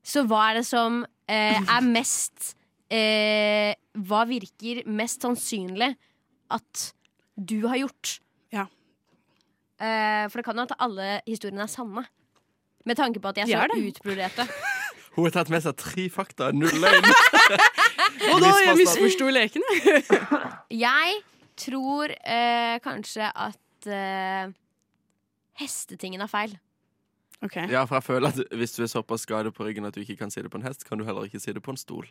Så hva er det som eh, er mest eh, Hva virker mest sannsynlig at du har gjort? Ja. Eh, for det kan jo at alle historiene er sanne. Med tanke på at jeg De så er det. utbroderte. Hun har tatt med seg tre fakta, null løgn. Og da jeg Misforstått. misforsto leken, jeg. Jeg tror eh, kanskje at eh, hestetingen er feil. Ja, for jeg føler at hvis du er såpass skadet på ryggen at du ikke kan sitte på en hest, kan du heller ikke sitte på en stol.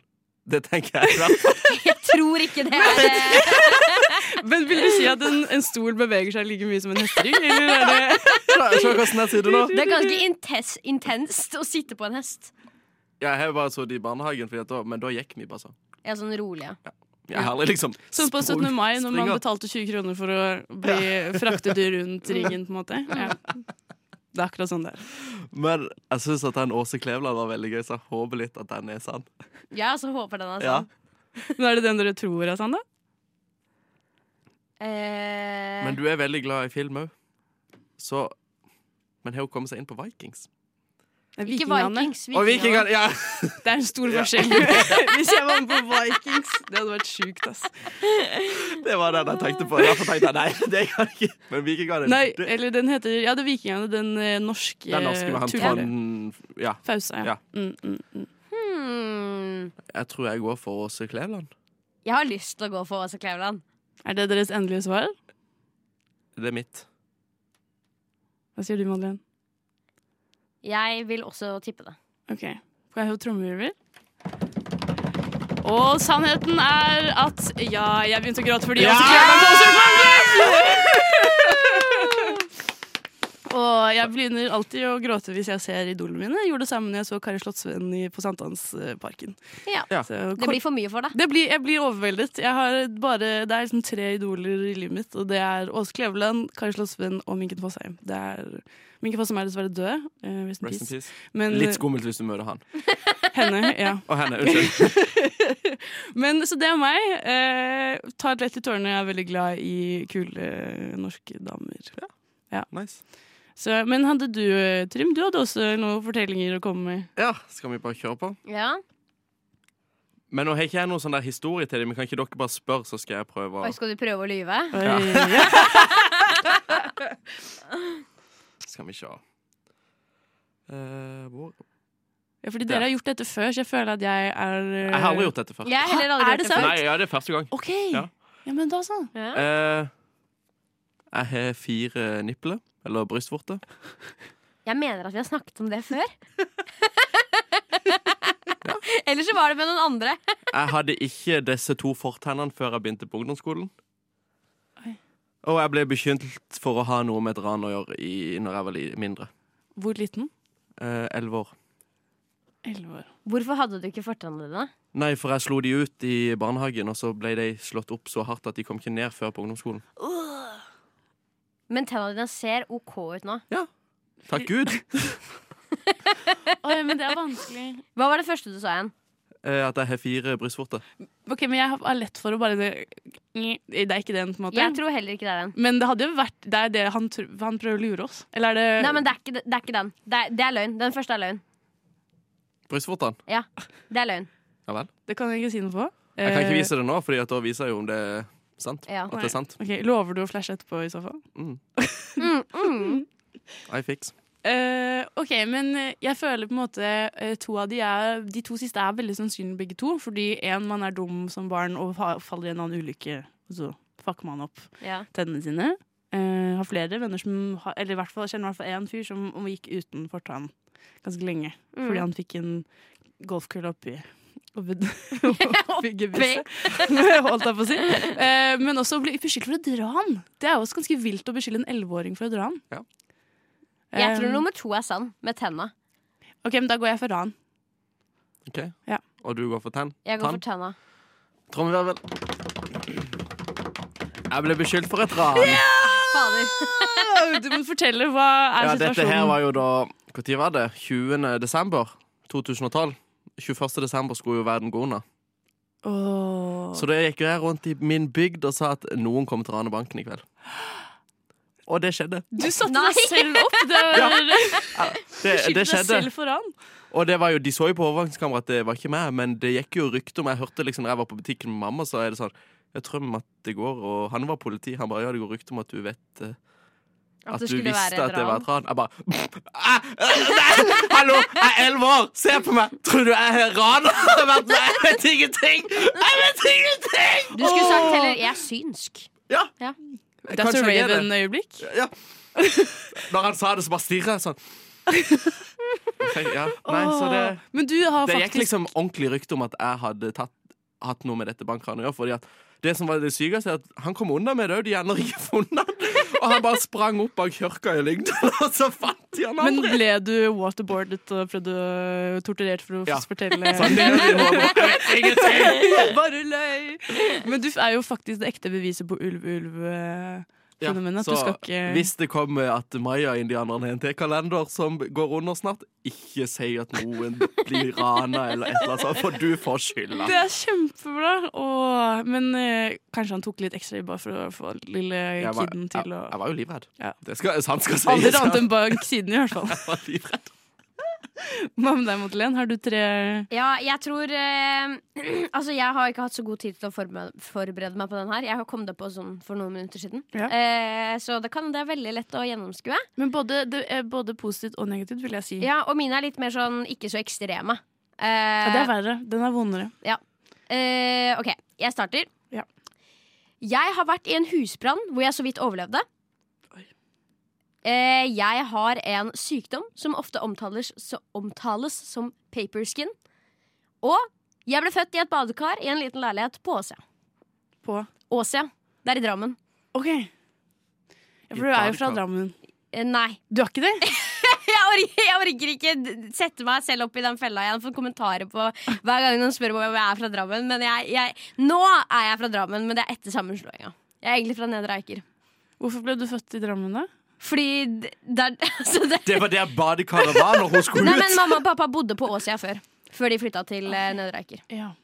Det tenker jeg. Da. Jeg tror ikke det er eh, Men vil du si at en, en stol beveger seg like mye som en hesterygg? Eller er det Se se hvordan jeg sitter nå. Det er ganske intens, intenst å sitte på en hest. Jeg har bare sittet i barnehagen, fordi at da, men da gikk vi bare sånn. Ja, sånn rolig. Ja. Jeg har aldri liksom som Sånn på 17. sprung- mai, når man springer. betalte 20 kroner for å bli fraktet rundt ryggen, på en måte? Ja. Det er akkurat sånn det er. Men jeg syns at den Åse Kleveland var veldig gøy, så jeg håper litt at den er sann. Jeg også håper Altså, den er Ja. sånn. Men er det den dere tror er sann, da? Eh, Men du er veldig glad i film òg, så Men har hun kommet seg inn på Vikings? Det er ikke vikingene. Vikings. Og vikingene! Ja! Det er en stor forskjell. Hvis jeg var med på Vikings, det hadde vært sjukt, ass. Det var den jeg tenkte på. Derfor tenkte jeg nei, det kan jeg ikke. Men vikingene Nei, eh, det- eller den heter Ja, det er Vikingene. Den eh, norske, eh, Den norske med han turen. Trond Ja. Fausa, ja. Ja. Mm, mm, mm. Hmm. Jeg tror jeg går for Åse Kleveland. Jeg har lyst til å gå for Åse Kleveland. Er det deres endelige svar? Det er mitt. Hva sier du, Madeleine? Jeg vil også tippe det. Ok, får jeg høre trommevirvel? Og sannheten er at Ja, jeg begynte å gråte fordi jeg også klarte meg på Åsø Kvam! Og jeg begynner alltid å gråte hvis jeg ser idolene mine. Jeg gjorde det samme når jeg så Kari Slottsvenn i- på Sankthansparken. Ja. Ja. Så Det blir for mye for deg. det blir, jeg blir overveldet. Jeg har bare, det er liksom tre idoler i livet mitt, og det er Åse Kleveland, Kari Slottsvenn og Minken Fossheim. Det er, Minken Fossheim er dessverre død. eh, rest in Rest in peace. peace. Men eh, Litt skummelt hvis du møter han. henne, ja. Og henne. Unnskyld. Men så det er meg. Eh, ta et lett i tårene. Jeg er veldig glad i kule norske damer. Nice. Så, men hadde du, eh, Trym, du hadde også noen fortellinger å komme med? Ja, skal vi bare kjøre på? Ja. Men nå har ikke jeg noen sånn der historie til dem. Men kan ikke dere bare spørre, så skal jeg prøve Oi, å skal du prøve å lyve? Oi, Ja. ja. Skal vi se. Eh, hvor Ja, fordi dere har gjort dette før, så jeg føler at jeg er eh, Jeg har aldri gjort dette før. Jeg har heller aldri Hæ, er gjort det før. sant? Nei, ja, det er første gang. OK! Ja, Ja. men da sånn. Ja. Eh, jeg har fire nipler. Eller brystvorter. Jeg mener at vi har snakket om det før. Eller så var det med noen andre. Jeg hadde ikke disse to fortennene før jeg begynte på ungdomsskolen. Oi. Og jeg ble bekymret for å ha noe med et ran å gjøre i, når jeg var li- mindre. Eh, Hvor liten? Elleve år. Elleve år. Hvorfor hadde du ikke fortennene dine? Nei, for jeg slo de ut i barnehagen, og så ble de slått opp så hardt at de kom ikke ned før på ungdomsskolen. Men tennene dine ser OK ut nå. Takk Gud! Oi, men det er vanskelig. Hva var det første du sa igjen? Eh, at jeg har fire brystvorter. OK, men jeg har lett for å bare Det er ikke den, på en måte. Jeg tror heller ikke det er den. Men det hadde jo vært Det er det han, tr- han prøver å lure oss. Eller er det Nei, men det er ikke, det er ikke den. Det er, det er løgn. Den første er løgn. Brystvortene. Ja, det er løgn. Ja vel. Det kan jeg ikke si noe på. Jeg kan ikke Eh, vise det nå, Fordi at da viser jeg jo om det er sant. Ja. At det er sant. Ok, Lover du å flashe etterpå i så fall? Mm, mm. I fix. Eh, ok, men eh, jeg føler på en måte eh, to av de er De to siste er veldig sannsynlig begge to. Fordi én, man er dum som barn og ha, faller i en annen ulykke. Og så fucker man opp Ja. tennene sine. Eh, har flere venner som har Eller i hvert fall, kjenner i hvert fall én fyr som gikk uten fortann ganske lenge. Fordi Mm. han fikk en golfkølle oppi Obed- Obedgebisse. Holdt jeg på å si. Eh, Men også å bli beskyldt for å dra han. Det er jo også ganske vilt å beskylde en 11-åring for å dra han. Ja. Jeg Eh, tror nummer to er sann, med tenna. Ok, men da går jeg for ran. Ok? Ja. Og du går for tenn? Jeg går Tann? for tenna. Trommevirvel. Jeg ble beskyldt for et ran. Fader. Åh, Du må fortelle hva er Ja, dette her situasjonen. var sånn. jo da Når var det? 20. desember 2012. 21. desember skulle jo verden gå under. Åh. Så det gikk jo jeg rundt i min bygd og sa at noen kom til å rane banken i kveld. Og det skjedde. Du satte Nei. deg selv opp! Det var, Ja, Eh, Det, Skyldte det deg skjedde. selv for ran. Og det var jo, de så jo på overvåkningskamera at det var ikke meg, men det gikk jo rykter om Jeg hørte liksom når jeg var på butikken med mamma, så er det sånn Jeg drømmer at det går, og han var politi. Han bare ja, det går rykter om at du vet eh, At, det du skulle være visste et at det ran. var et ran. Jeg bare «Ah, eh, Nei! Hallo! Jeg er elleve år! Se på meg! Tror du jeg er raner? Jeg vet- Jeg vet ingenting! Jeg vet ingenting! Du skulle sagt heller 'jeg er synsk'. That's a Kanskje jeg er det. Raven-øyeblikk. Ja. Når han sa det, så bare stirrer jeg sånn. Ok, Ja. Nei, så det, Åh, Men du har det faktisk gikk liksom ordentlig rykte om at jeg hadde tatt, hatt noe med dette bankranet å gjøre. Fordi at det som var det sykeste, er at han kom unna med det òg. De hadde ennå ikke funnet han. Og han bare sprang opp bak kirka i Lyngdal, og så fant de han Men aldri. ble du waterboardet og prøvde å torturert for å Ja. fortelle Så han lever i noe, vet ingenting. Bare løy! Men du er jo faktisk det ekte beviset på eh, Ja, ulv-ulv-fenomenet. at du så skal ikke hvis det kommer at maya-indianerne har en T-kalender som går under snart, ikke si at noen blir rana eller et eller annet sånt, for du får skylda. Det er kjempebra! Åh, men eh, kanskje han tok litt ekstra i bare for å få lille jeg var, kiden til jeg, å jeg var jo livredd. Ja. Det skal, sant skal sies. Aldri rant Jeg en bank siden, i hvert fall. var livredd. Hva med deg, Madeleine? Har du tre Ja, jeg tror eh, Altså, jeg har ikke hatt så god tid til å forberede, forberede meg på den her. Jeg har kommet på sånn for noen minutter siden. Ja. Eh, så det, kan, det er veldig lett å gjennomskue. Men både, det er både positivt og negativt, vil jeg si. Ja, Og mine er litt mer sånn ikke så ekstreme. Eh, Ja, det er verre. Den er vondere. Eh, ok, jeg starter. Ja. Jeg har vært i en husbrann hvor jeg så vidt overlevde. Oi. Eh, jeg har en sykdom som ofte omtales, så omtales som paperskin. Og jeg ble født i et badekar i en liten leilighet på Åsia. På Åsia, det er i Drammen. OK. Ja, for du er jo fra badekar. Drammen. Eh, nei. Du er ikke det? Jeg orker, jeg orker ikke d- sette meg selv opp i den fella igjen. Fått kommentarer på hver gang noen spør om jeg er fra Drammen. Men jeg, jeg, nå er jeg fra Drammen, men det er etter sammenslåinga. Jeg er egentlig fra Nedre Eiker. Hvorfor ble du født i Drammen, da? Fordi d- der, altså det, Det var der badekaret var når hun skulle Nei, ut. men Mamma og pappa bodde på Åsia før. Før de flytta til Ah. eh, Nedre Eiker. Ja.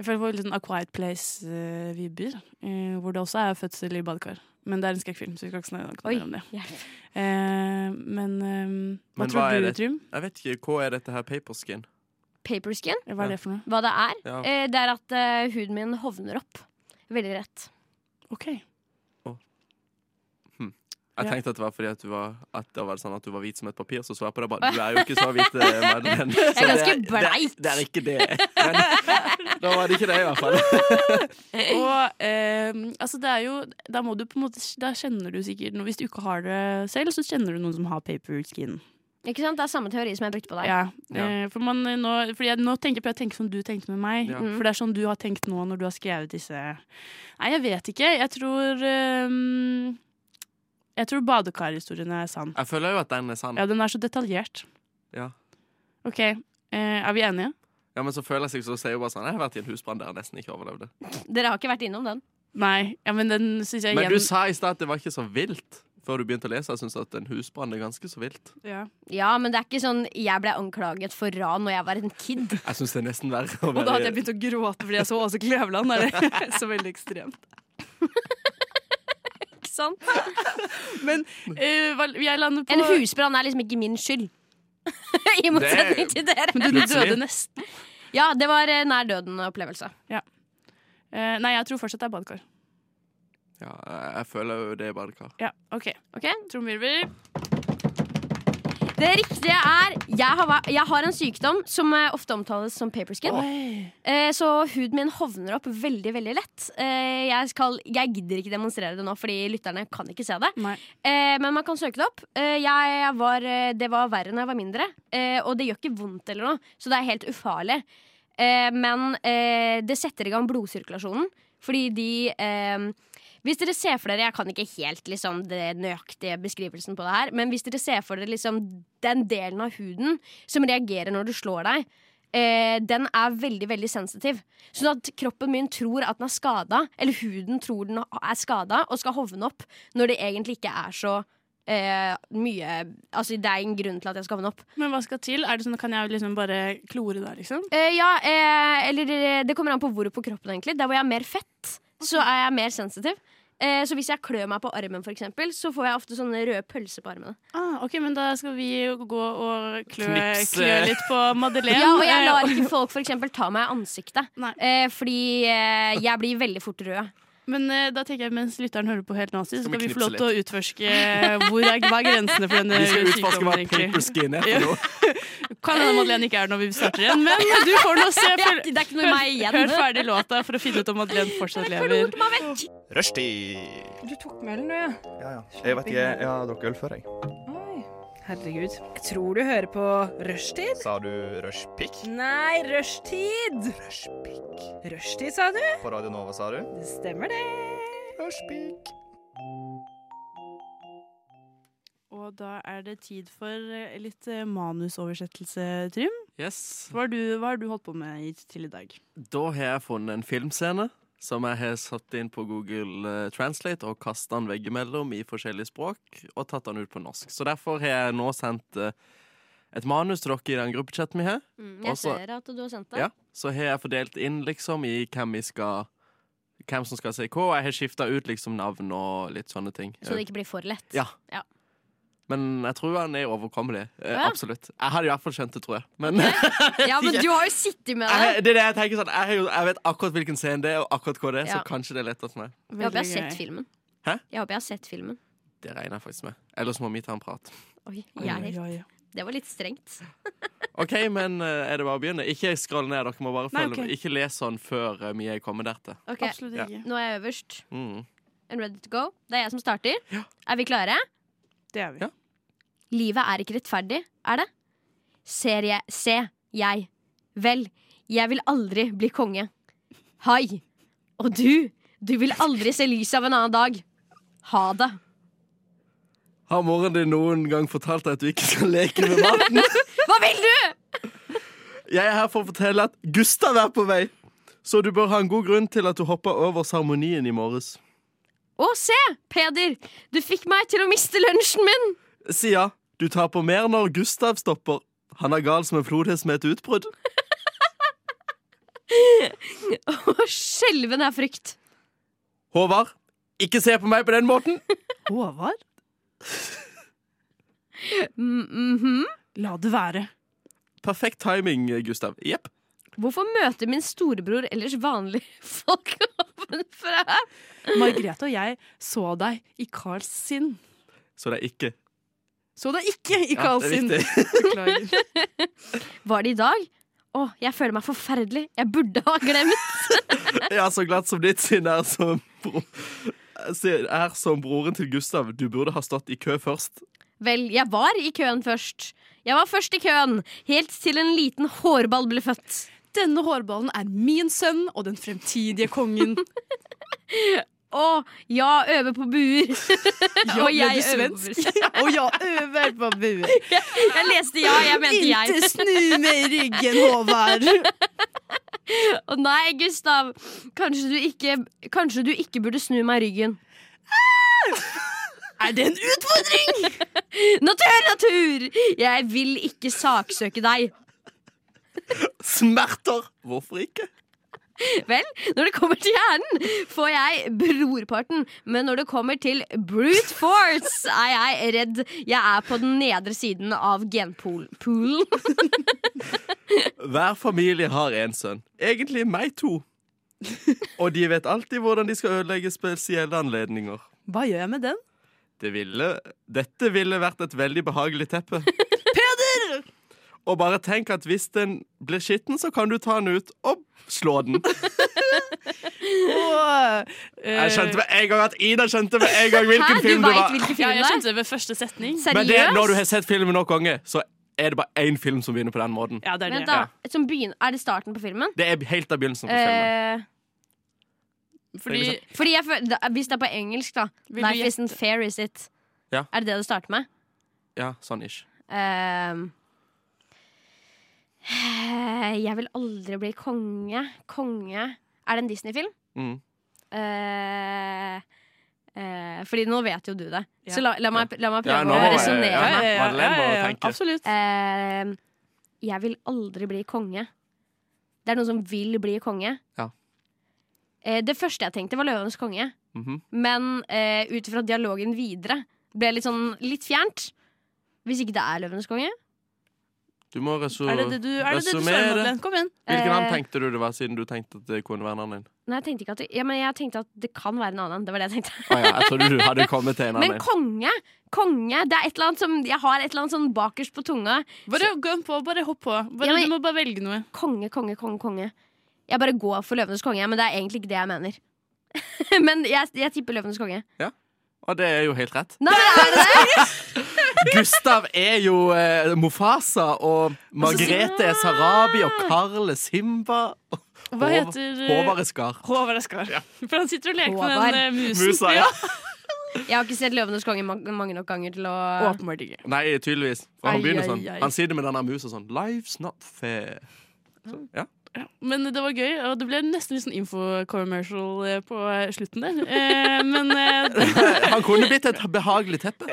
Jeg føler det var litt sånn A Quiet eh, Place-vibber, eh, hvor det også er fødsel i badekar. Men det er en skrekkfilm, så vi skal ikke snakke Oi, mer om det. hjelp. Eh, men eh, hva Men tror hva er du, det? Trym? Jeg vet ikke, Hva er dette her paperskin? Paperskin, Hva er det for noe? hva det er, Ja. eh, det er at eh, huden min hovner opp. Veldig rett. OK. Jeg Ja. tenkte at det var fordi at du var, at det var sånn at du var hvit som et papir, så så jeg på deg bare Du er jo ikke så hvit, eh, Madeleine. Så Jeg er det ganske bleik. Det, det er ikke det. Men, da var det ikke det, i hvert fall. Og eh, altså, det er jo Da må du på en måte Da kjenner du sikkert noe Hvis du ikke har det selv, så kjenner du noen som har paper skin. Ikke sant? Det er samme teori som jeg brukte på deg. Ja, Ja. eh, for man, eh, nå, fordi jeg, nå tenker jeg på jeg tenker som du tenkte med meg. Ja. Mm. For det er sånn du har tenkt nå når du har skrevet disse Nei, jeg vet ikke. Jeg tror eh, Jeg tror badekarhistorien er sann. Jeg føler jo at den er sann. Ja, den er så detaljert. Ja. OK. eh, er vi enige? Ja, Men så føler jeg seg så sier hun bare sånn Jeg har vært i en husbrann der jeg nesten ikke overlevde. Dere har ikke vært innom den. Nei. Ja, men den syns jeg Men igjen du sa i stad at det var ikke så vilt. Før du begynte å lese, jeg syns at en husbrann er ganske så vilt. ja. Ja, men det er ikke sånn jeg ble anklaget for ran når jeg var en kid. Jeg syns det er nesten verre å Og da hadde være jeg begynt å gråte fordi jeg så Åse Kleveland. Er det så veldig ekstremt? Ikke sant? Men eh, hva- jeg lander på En husbrann er liksom ikke min skyld. I motsetning til dere. Men du Plutselig. døde nesten. Ja, det var eh, nær døden-opplevelse. Eh, nei, jeg tror fortsatt det er badekar. Ja, jeg- jeg føler jo det er badekar. Ja, OK. Ok? Trommevirvel. Det riktige er jeg har, væ- jeg har en sykdom som eh, ofte omtales som paperskin. Oi. Eh, så huden min hovner opp veldig veldig lett. Eh, jeg, skal, jeg gidder ikke demonstrere det nå, fordi lytterne kan ikke se det. Nei. Eh, men man kan søke det opp. Eh, jeg var, eh, det var verre når jeg var mindre, eh, og det gjør ikke vondt eller noe, så det er helt ufarlig. Eh, men eh, det setter i gang blodsirkulasjonen, fordi de eh, hvis dere ser for dere, Jeg kan ikke helt liksom, det nøyaktige beskrivelsen på det her, men hvis dere ser for dere liksom, den delen av huden som reagerer når du slår deg, eh, den er veldig veldig sensitiv. Sånn at kroppen min tror at den er skada, eller huden tror den er skada og skal hovne opp, når det egentlig ikke er så eh, mye Altså, det er en grunn til at jeg skal hovne opp. Men hva skal til? Er det sånn, Kan jeg liksom bare klore da, liksom? Eh, ja, eh, eller eh, det kommer an på hvor på kroppen egentlig. Der hvor jeg har mer fett, så er jeg mer sensitiv. Eh, så hvis jeg klør meg på armen, for eksempel, så får jeg ofte sånne røde pølser på armene. Ah, ok, men da skal vi jo gå og klø, Knipse. klø litt på Madeleine. Ja, og jeg eh, lar ikke folk for eksempel ta meg i ansiktet. Nei. Eh, fordi eh, jeg blir veldig fort rød. Men eh, da tenker jeg mens lytteren hører på helt nazi, så Skal vi skal vi knipse få lov til å utforske eh, hvor er, hva er grensene for denne Vi skal utforske hva sykdommen. paper egentlig. skin er Ja. for noe. Kan hende Madeleine ikke er det når vi starter igjen, men eh, du får nå se. Det er For, ikke- det er ikke noe i meg igjen. Hør ferdig låta for å finne ut om Madeleine fortsatt lever. Rushtid! Du tok med ølen, du, ja. Ja, ja. Jeg vet ikke, jeg har drukket øl før, jeg. Oi. Herregud. Jeg tror du hører på Rushtid. Sa du rushpick? Nei, rushtid! Rushpick. Rushtid, sa du? På Radio Nova, sa du? Det stemmer, det. Rushpick. Og da er det tid for eh, litt eh, manusoversettelse, Trym. Yes. Hva har du, hva har du holdt på med i- til i dag? Da har jeg funnet en filmscene som jeg har satt inn på Google eh, Translate og kasta den veggimellom i forskjellige språk og tatt den ut på norsk. Så derfor har jeg nå sendt eh, et manus til dere i den gruppechatten vi har. jeg Mm, jeg Også- ser at du har sendt det. Ja. Så har jeg fordelt inn liksom i hvem vi skal Hvem som skal si hva. og Jeg har skifta ut liksom navn og litt sånne ting. Så det ikke blir for lett. Ja. Ja. Men jeg tror han er overkommelig. Eh, Ja. Absolutt. Jeg hadde i hvert fall skjønt det, tror jeg. Men Ja, men du har jo sittet med det. jeg, det er det jeg tenker sånn jeg, har jo- jeg vet akkurat hvilken scene det er, og akkurat hva det er, Ja. så kanskje det er lettere for meg. Jeg håper jeg Veldig har sett gøy. filmen. Hæ? Jeg håper jeg har sett filmen. Det regner jeg faktisk med. Ellers må vi ta en prat. Oi, Oi, jeg er helt- oi, oi. Det var litt strengt. OK, men eh, er det bare å begynne? Ikke skroll ned, dere må bare Nei, følge ok. med. Ikke les sånn før eh, vi er kommet dertil. Ok. Absolutt Ja. ikke. Nå er jeg øverst Mm. and ready to go. Det er jeg som starter. Ja. Er vi klare? Det er vi. Ja. Livet er ikke rettferdig, er det? Ser jeg Se, jeg. Vel, jeg vil aldri bli konge. Hai. Og du, du vil aldri se lyset av en annen dag. Ha det. Har moren din noen gang fortalt deg at du ikke skal leke med maten? Hva vil du? Jeg er her for å fortelle at Gustav er på vei, så du bør ha en god grunn til at du hoppa over seremonien i morges. Å, se, Peder, du fikk meg til å miste lunsjen min. Sia, du taper mer når Gustav stopper. Han er gal som en flodhest med et utbrudd. Og skjelven er frykt. Håvard, ikke se på meg på den måten. Håvard, Mm mhm. la det være. Perfekt timing, Gustav. Jepp. Hvorfor møter min storebror ellers vanlige folk ovenfra? Margrethe og jeg så deg i Karls sinn. Så det er ikke Så deg ikke i Karls det er sinn. viktig. Beklager. Var det i dag? Å, jeg føler meg forferdelig. Jeg burde ha glemt. Ja, så glatt som ditt sinn er som bro... sinn Er som broren til Gustav. Du burde ha stått i kø først. Vel, jeg var i køen først. Jeg var først i køen, helt til en liten hårball ble født. Denne hårballen er min sønn og den fremtidige kongen. Å, ja, øve på buer. Ja, Og jeg ble du øver. svensk? og jeg øver på bue. Jeg leste ja, jeg mente jeg. Ikke snu meg i ryggen, Håvard. Å nei, Gustav. Kanskje du, ikke, kanskje du ikke burde snu meg ryggen. Er det en utfordring? Natur, natur! Jeg vil ikke saksøke deg. Smerter! Hvorfor ikke? Vel, når det kommer til hjernen, får jeg brorparten. Men når det kommer til brute force, er jeg redd jeg er på den nedre siden av genpoolen. Hver familie har en sønn. Egentlig meg to. Og de vet alltid hvordan de skal ødelegge spesielle anledninger. Hva gjør jeg med den? Det ville, dette ville vært et veldig behagelig teppe. Peder! Og bare tenk at hvis den blir skitten, så kan du ta den ut og slå den. Åh, Jeg skjønte med en gang at Ida skjønte med en gang hvilken Hæ? Du film det veit var. hvilken Ja, film jeg det er? skjønte det ved første setning. Men det, når du Seriøst? har sett filmen nok ganger, så er det bare én film som begynner på den måten. Ja, det er det. Vent, da. Som begyn- er det starten på filmen? Det er helt av begynnelsen på filmen. Eh, Fordi liksom liksom- fordi jeg føler, da, Hvis det er på engelsk, da. Vil du Life gjette? isn't fair, is it? Ja. Er det det det starter med? Ja, sånn ish. Ehm, eh, jeg vil aldri bli konge. Konge Er det en Disney-film? Mm. Eh, eh, fordi nå vet jo du det. Ja. Så la, la, meg, la meg Ja, prøve nå å må jeg- resonnere. ja, ja, meg. ja. Madeleine må tenke. Absolutt. Ehm, jeg vil aldri bli konge. Det er noen som vil bli konge. Ja. Eh, det første jeg tenkte, var Løvenes konge. Mhm. Men eh, ut ifra dialogen videre ble litt sånn litt fjernt. Hvis ikke det er Løvenes konge. Du må resu... Er det det du, er det det du svarer, Resumere. Madeleine? Kom igjen. Hvilken annen Eh, tenkte du det var, siden du tenkte at det kunne være en annen? Nei, jeg tenkte ikke at det, ja, men jeg tenkte at det kan være en annen. Det var det jeg tenkte. Å ja, jeg trodde du hadde kommet til en Men annen. konge! Konge! Det er et eller annet som, jeg har et eller annet sånn bakerst på tunga. Bare gå på, bare hopp på. Bare, Ja, men- du må bare velge noe. Konge, konge, konge, konge. Jeg bare går for Løvenes konge, men det er egentlig ikke det jeg mener. men jeg, jeg tipper Løvenes konge. Og det er jo helt rett. Nei, men er det det? Gustav er jo eh, Mofasa, og Margrethe er Sarabi, og Karl er Simba. og Hva Håvard- heter eh, Håvard er Skar. Håvard Eskar. For han sitter og leker med Håvard. den eh, musen. Musa, ja. Jeg har ikke sett Løvenes konge ma- mange nok ganger til å Åpenbart ikke. Nei, tydeligvis. For han Ai, begynner ai, sånn. ai. Han sitter med denne musa sånn. Life's not fair. Men det var gøy, og det ble nesten litt sånn info-commercial eh, på eh, slutten der. Eh, men eh, Han kunne blitt et behagelig teppe.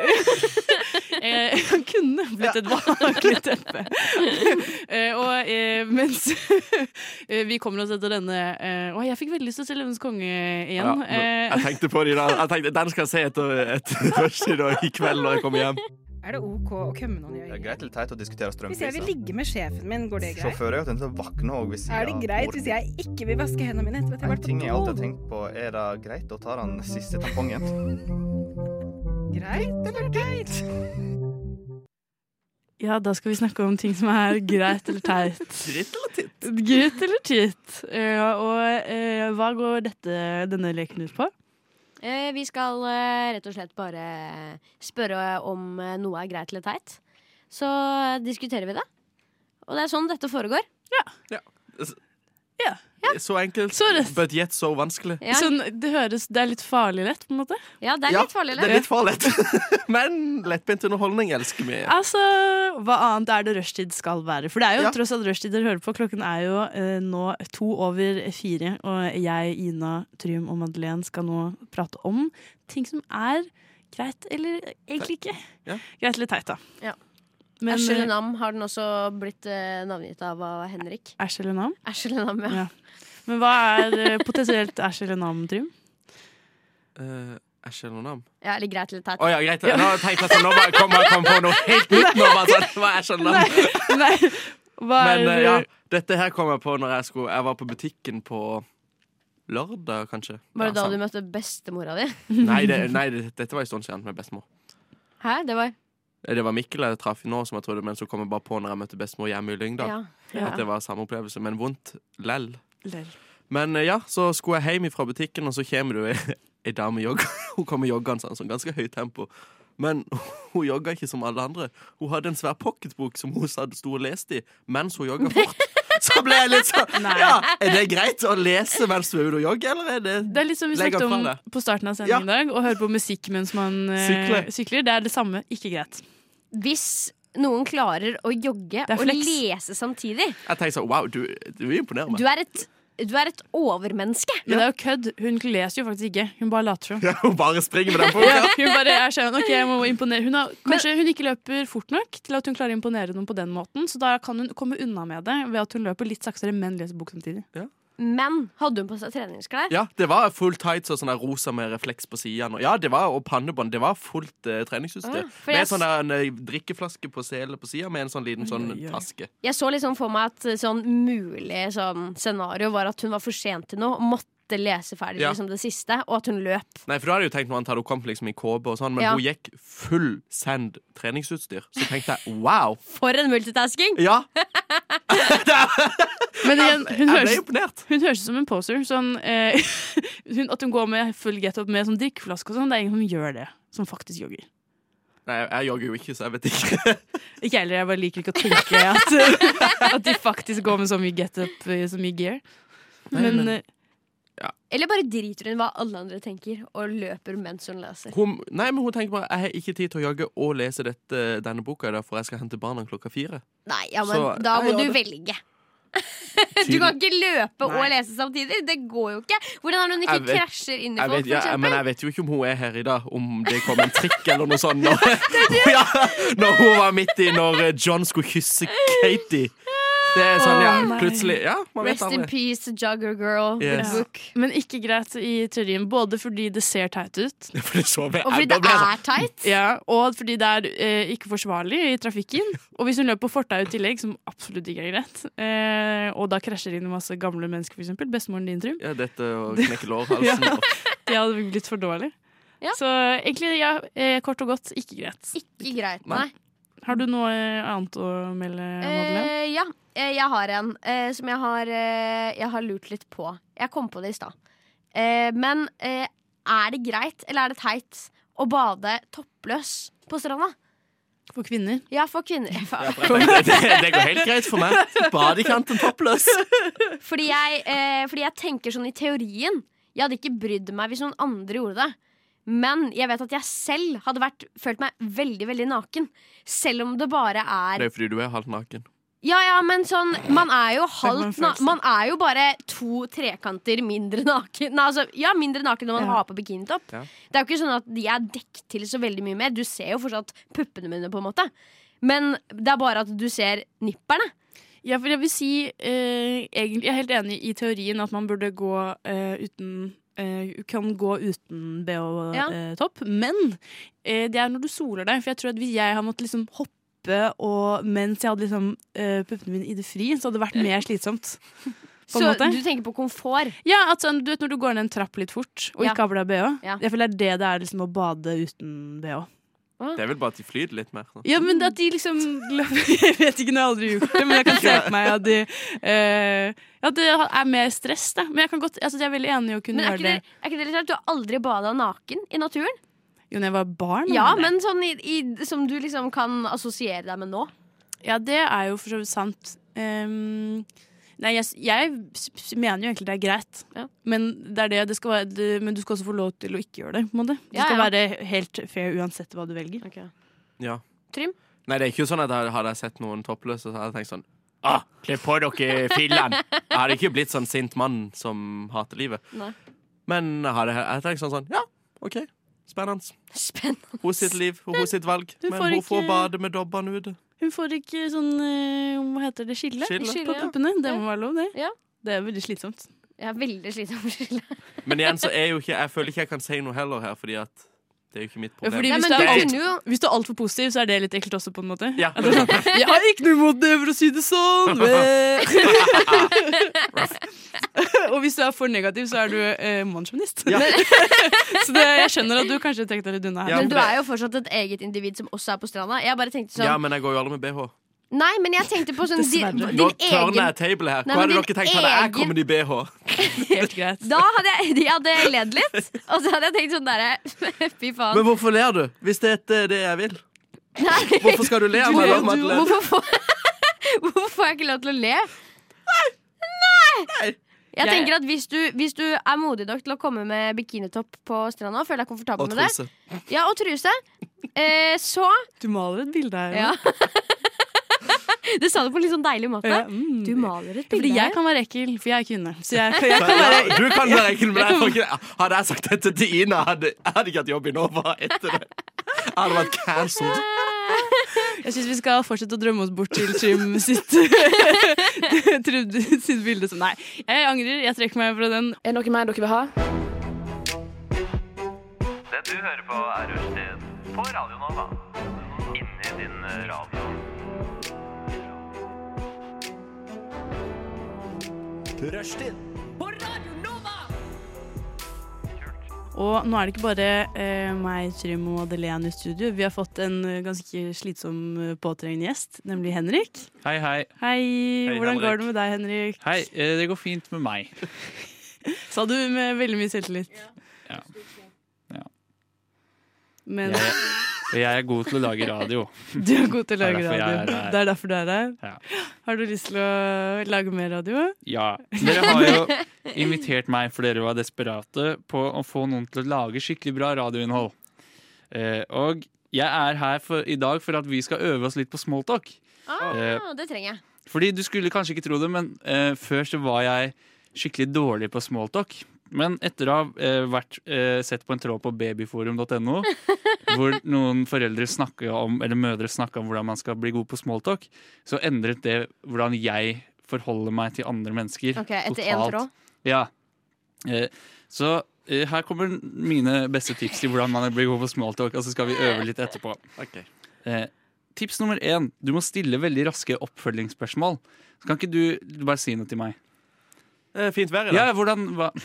eh, han kunne blitt et behagelig teppe. eh, og eh, mens eh, vi kommer oss etter denne eh, Å, jeg fikk veldig lyst til å se Løvenes konge Ja, igjen. nå- eh, jeg tenkte på de der. Jeg tenkte, den skal jeg se etter, etter rushtid og i kveld når jeg kommer hjem. Er det OK å kømme noen i Det er øynene? greit eller teit å diskutere Hvis jeg vil strømpriser. ligge med sjefen min, går det greit? Sjåfører er jo tenkt til å våkne òg hvis Er det greit hvis jeg ikke vil vaske hendene mine etter at jeg En har ting jeg vært alltid har på do? tenkt på, er det greit å ta den siste tampongen? Greit eller teit? ja, da skal vi snakke om ting som er greit eller teit. Dritt eller titt? Gutt eller titt? Eh, og eh, hva går dette, denne leken ut på? Eh, Vi skal eh, rett og slett bare spørre om eh, noe er greit eller teit. Så eh, diskuterer vi det. Og det er sånn dette foregår. Så enkelt, Så rett. but yet so vanskelig. Ja, Sånn, det høres Det er litt farlig lett, på en måte. ja det er Ja, litt farlig. Det er litt for lett. Men lettbent underholdning elsker vi. Altså, Hva annet er det rushtid skal være? For det er jo Ja. tross alt rushtid dere hører på. Klokken er jo eh, nå to over fire, og jeg, Ina, Trym og Madeleine skal nå prate om ting som er greit eller egentlig ikke. Ja. Greit eller teit, da. Ja. Men Æsj eller eh, nam har den også blitt eh, navngitt av av Henrik. æsj eller nam? Æsj eller nam, Ja. ja. Men hva er eh, potensielt æsj eller nam, Trym? Eh, Æsj eller nam? ja. Eller greit eller teit. Å ja, greit. Nå tenkte jeg sånn, nå bare kom jeg kom på noe helt nytt. Nå bare sånn, hva er æsj eller nam? Nei, hva er Men eh, ja, ja. dette her kom jeg på når jeg skulle Jeg var på butikken på lørdag, kanskje. Var det Ja, da sant. du møtte bestemora di? Nei, det, nei det, dette var en stund siden med bestemor. Hæ? Det var Eh, Det var Mikkel jeg traff nå, som jeg trodde, men så kom jeg bare på når jeg møtte bestemor hjemme i Lyngdal. Ja. At det var samme opplevelse, men vondt lell. Lell. Men eh, ja, så skulle jeg hjem fra butikken, og så kommer det jo ei- ei dame jogg. Hun kommer joggende sånn, sånn ganske høyt tempo. Men hun jogga ikke som alle andre. Hun hadde en svær pocketbok som hun satt- sto og leste i mens hun jogga fort. Så ble jeg litt sånn Ja, er det greit å lese mens du er ute og jogger, eller er det Det er litt som vi Legg snakket opp fra om deg. på starten av sendingen i dag. Å høre på musikk mens man eh, Sykler. sykler. Det er det samme. Ikke greit. Hvis noen klarer å jogge er og flex. lese samtidig Jeg tenkte sånn Wow, du, du imponerer meg. Du er et, du er et overmenneske. Men det er jo kødd. Hun leser jo faktisk ikke. Hun bare later som. Ja, hun bare springer med den Ja, boka. hun bare er sånn, ok, jeg må imponere hun har, Kanskje hun ikke løper fort nok til at hun klarer å imponere noen på den måten, så da kan hun komme unna med det ved at hun løper litt saktere, men leser bok samtidig. Men hadde hun på seg treningsklær? Ja, det var full tights og sånn der rosa med refleks på sidene. Og Ja, det var, og pannebånd. Det var fullt eh, treningsutstyr. Ah, for med jeg sånn der, en eh, drikkeflaske på selen på sida, med en sånn liten sånn oi, oi. taske. Jeg så liksom for meg at eh, sånn mulig sånn scenario var at hun var for sent til noe, måtte lese ferdig Ja. liksom det siste, og at hun løp. Nei, for da hadde jeg jo tenkt noe annet. Hun kom liksom i KB og sånn, men Ja. hun gikk full send treningsutstyr. Så tenkte jeg wow. For en multitasking! Ja, Men igjen, hun jeg ble høres imponert. hun høres ut som en poser. Sånn, eh, hun, at hun går med full get-up med sånn drikkeflaske og sånn. Det er ingen som gjør det, som faktisk jogger. Nei, jeg jogger jo ikke, så jeg vet ikke. Ikke heller, jeg bare liker ikke å tenke at, at de faktisk går med så mye get up, eh, så mye gear. Men, eh, Eller bare driter hun i hva alle andre tenker, og løper mens hun leser. Hun, nei, men hun tenker bare jeg har ikke tid til å jogge og lese dette, denne boka, i dag, for jeg skal hente barna klokka fire. Nei, ja, men Så, da må jeg du gjør det. velge. Du kan ikke løpe og lese samtidig. Det går jo ikke. Hvordan er det hun ikke Jeg vet- krasjer inn i Jeg folk, vet, for ja, men eksempel? jeg vet jo ikke om hun er her i dag, om det kom en trikk eller noe sånt. Når, ja, når hun var midt i når eh, John skulle kysse Katie. Det er sånn, ja, Å, nei. plutselig Ja, man vet Rest in aldri. peace, jogger girl. Yes. The book. men ikke greit i teorien, både fordi det ser teit ut, For det så jeg- Og fordi da det ble jeg sånn, er teit. ja, og fordi det er eh, ikke forsvarlig i trafikken. Og hvis hun løper på fortauet i tillegg, som absolutt ikke er greit, eh, og da krasjer inn masse gamle mennesker, f.eks. Bestemoren din, Trym. ja, dette å knekke lårhalsen og Jeg hadde blitt for dårlig. Ja. Så egentlig, ja, eh, kort og godt, ikke greit. Ikke greit, Nei. nei. Har du noe eh, annet å melde, Madeleine? Eh, ja, eh, jeg har en eh, som jeg har, eh, jeg har lurt litt på. Jeg kom på det i stad. Eh, men eh, er det greit, eller er det teit, å bade toppløs på stranda? For kvinner. Ja, for kvinner. det, det, det går helt greit for meg. Badekanten toppløs. Fordi jeg, eh, fordi jeg tenker sånn i teorien Jeg hadde ikke brydd meg hvis noen andre gjorde det Men jeg vet at jeg selv hadde vært, følt meg veldig, veldig naken Selv om det bare Det er er jo fordi du er halvt naken. Ja, ja, men sånn Man er jo meg en halvt na følelse. Man er jo bare to trekanter mindre naken Nei, altså, ja, mindre naken når man Ja. har på bikinitopp Ja. Det er jo ikke sånn at de er dekt til så veldig mye mer Du ser jo fortsatt puppene mine på en måte Men det er bare at du ser nipperne Ja, for jeg vil si eh, egentlig, Jeg er helt enig i teorien at man burde gå eh, uten eh, Kan gå uten Ja. BH-topp, men eh, det er når du soler deg. For jeg tror at hvis jeg har måttet liksom hoppe og mens jeg hadde liksom eh, puppene mine i det fri, så hadde det vært mer slitsomt. På en Så måte. du tenker på komfort Ja, at sånn, du vet Når du går ned en trapp litt fort og Ja. ikke har på deg bh. Ja. Jeg føler det er det det er liksom å bade uten bh. Det er vel bare at de flyter litt mer. Sånn. Ja, men at de liksom Jeg vet ikke, nå har jeg aldri gjort det, men jeg kan se for meg at de eh, Ja, det er mer stress, da. Men jeg kan godt, altså, jeg er veldig enig i å kunne Men er gjøre ikke, det. det, er ikke det litt rart? Du har aldri bada naken i naturen? Jo, når jeg var barn. Ja, var det. men sånn i, i, som du liksom kan assosiere deg med nå. ja, det er jo for så vidt sant. Ehm, nei, jeg, s- jeg s- s- mener jo egentlig det er greit, Ja. men, det er det, det skal være, det, men du skal også få lov til å ikke gjøre det. På en måte. Du Ja, skal ja. være helt fair uansett hva du velger. Ja. Trym? Nei, det er ikke sånn at jeg hadde jeg sett noen toppløse, så hadde jeg tenkt sånn ah, Kle på dere fillene! Jeg hadde ikke blitt sånn sint mann som hater livet. Nei. Men jeg hadde, jeg hadde tenkt sånn sånn Ja, OK. Spennende. Spennende. Hun sitt liv og hun sitt valg. Du Men får hun ikke- får bade med dobbene ute. Hun får ikke sånn eh, Hva heter det? Skille, Skille. på Skille, ja. puppene. Det må være lov, det. Ja. Det er veldig slitsomt. Jeg er veldig slitsom for skille. Men igjen så er jo ikke Jeg føler ikke jeg kan si noe heller her, fordi at det er jo ikke mitt problem. fordi- Nei, hvis men det du er alt- kunne jo Hvis du er altfor positiv, så er det litt ekkelt også, på en måte. Ja. At det er sånn, jeg har ikke noe imot det, for å si det sånn! men-» Og hvis du er for negativ, så er du eh, mannsjåvinist. Ja. så det, jeg skjønner at du kanskje tenkte litt unna her. Ja, Men men du det- er jo fortsatt et eget individ som også er på stranda. Jeg bare tenkte sånn Ja, men jeg går jo aldri med BH. Nei, men jeg tenkte på sånn din, Dessverre. Nå din tørner egen jeg tablet her. Nei, Hva men hadde din dere tenkt hadde jeg egen- kommet i BH? Helt greit. Da hadde jeg, jeg hadde ledd litt, og så hadde jeg tenkt sånn derre Fy faen. Men hvorfor ler du? Hvis det er det jeg vil? Nei, Hvorfor skal du le av meg? da, Madeleine? hvorfor får Hvorfor får jeg ikke lov til å le? Nei! Jeg Jeg- tenker at hvis du, hvis du er modig nok til å komme med bikinitopp på stranda og føler deg komfortabel Og med det, truse. ja, og truse, eh, så Du maler et bilde her. ja. Det sa du på en litt sånn deilig måte. Ja, mm. Du maler et Fordi bilde. jeg her. kan være ekkel, for jeg er kvinne. Så jeg, jeg kan være Ja, Du kan være ekkel, men jeg får ikke Hadde jeg sagt dette til Ina, hadde jeg hadde ikke hatt jobb i Nova etter det. Jeg hadde vært cancelled. Jeg syns vi skal fortsette å drømme oss bort til Trym sitt, Trym sitt bilde. som- Nei, jeg angrer. Jeg trekker meg fra den. Er det noe mer dere vil ha? Det du hører på er Rushtid på Radio Nova. Inni din radio. Rushtid. Og nå er det ikke bare eh, meg, Trym og Madeleine i studio. Vi har fått en eh, ganske slitsom eh, påtrengende gjest, nemlig Henrik. Hei, hei. Hei, Hei, hvordan går Henrik. det med deg, Henrik? Hei, eh, det går fint med meg. Sa du med veldig mye selvtillit. Ja. Ja. Men Jeg, Og jeg er god til å lage radio. Du er god til å lage Det radio. er derfor jeg er her. Det er derfor du er her. Ja. Har du lyst til å lage mer radio? Ja. Dere har jo invitert meg, for dere var desperate, på å få noen til å lage skikkelig bra radioinnhold. Eh, og jeg er her for, i dag for at vi skal øve oss litt på smalltalk. Ah, det trenger jeg. Fordi du skulle kanskje ikke tro det, men eh, før så var jeg skikkelig dårlig på smalltalk. Men etter å ha eh, vært, eh, sett på en tråd på babyforum.no, hvor noen foreldre snakket om, eller mødre snakka om hvordan man skal bli god på smalltalk, så endret det hvordan jeg forholder meg til andre mennesker. Ok, Etter én tråd. Ja. Eh, så eh, her kommer mine beste tips til hvordan man blir god på smalltalk, og så skal vi øve litt etterpå. Ok. Eh, tips nummer én. Du må stille veldig raske oppfølgingsspørsmål. Så kan ikke du du bare si noe til meg? Eh, Fint vær i dag. Ja, hvordan hva?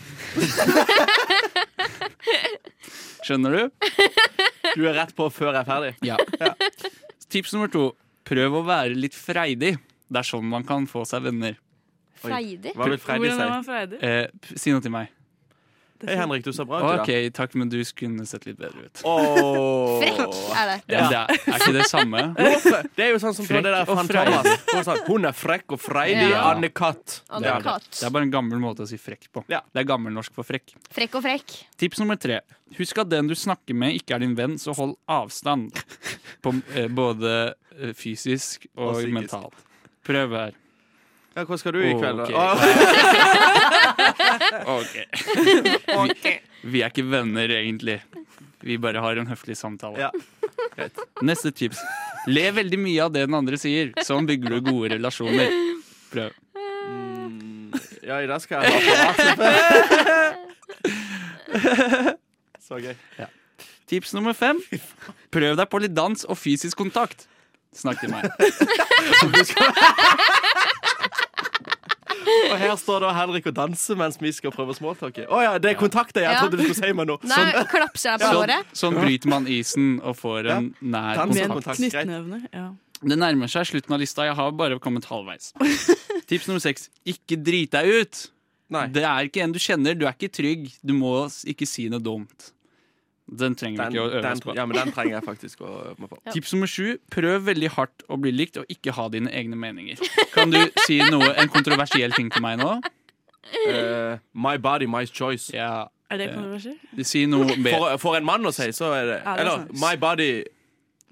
Skjønner du? Du er rett på før jeg er ferdig. Ja. Tips nummer to. Prøv å være litt freidig. Det er sånn man kan få seg venner. Freidig. Hva vil Freddy Hvordan si? er man freidig? Eh, p- si noe til meg. Hei, Henrik, du ser bra ut OK, i dag. takk, men du skulle sett litt bedre ut. Åh. Frekk er det. Ja. men Det er, er ikke det samme? Hvorfor? Det er jo sånn som på Frekk det der og Fan freidig. Thomas. Hun, sa, hun er frekk og freidig. Ja. Anne-Katt. Og Det det er, er det. katt. det er bare en gammel måte å si frekk på. Ja. Det er gammelnorsk for frekk. Frekk og frekk. Tips nummer tre. Husk at den du snakker med, ikke er din venn, så hold avstand. På, eh, både eh, fysisk og, Og psykisk. mentalt. Prøv her. Ja, hva skal du i kveld, da? Ok. Åh. OK. Vi, vi er ikke venner, egentlig. Vi bare har en høflig samtale. Ja. Greit. Neste tips. Le veldig mye av det den andre sier. Sånn bygger du gode relasjoner. Prøv. Mm, Ja, i dag skal jeg ha apparat. Så gøy. Tips nummer fem. Prøv deg på litt dans og fysisk kontakt. Snakk til meg. Og her står da Henrik og danser mens vi skal prøve småtalket. Å ja, det er kontakter! Jeg Ja. trodde du skulle si meg noe. Nei, klapser jeg på Sånn, håret? sånn bryter man isen og får en nær Dans- Med kontakt. kontakt, greit. knyttnevene. Ja. Det nærmer seg slutten av lista. Jeg har bare kommet halvveis. Tips nummer seks ikke drit deg ut. Nei. Det er ikke en du kjenner. Du er ikke trygg. Du må s- ikke si noe dumt. Den trenger Den, vi ikke å øve den, oss på. ja, men den trenger jeg faktisk å øve meg på. Tips nummer sju prøv veldig hardt å bli likt og ikke ha dine egne meninger. Kan du si noe, en kontroversiell ting til meg nå? Eh, my body, my choice. Ja, Er det kontroversielt? Si noe bedre. For, for en mann å si, så er det Ja, det er Eller sant. my body,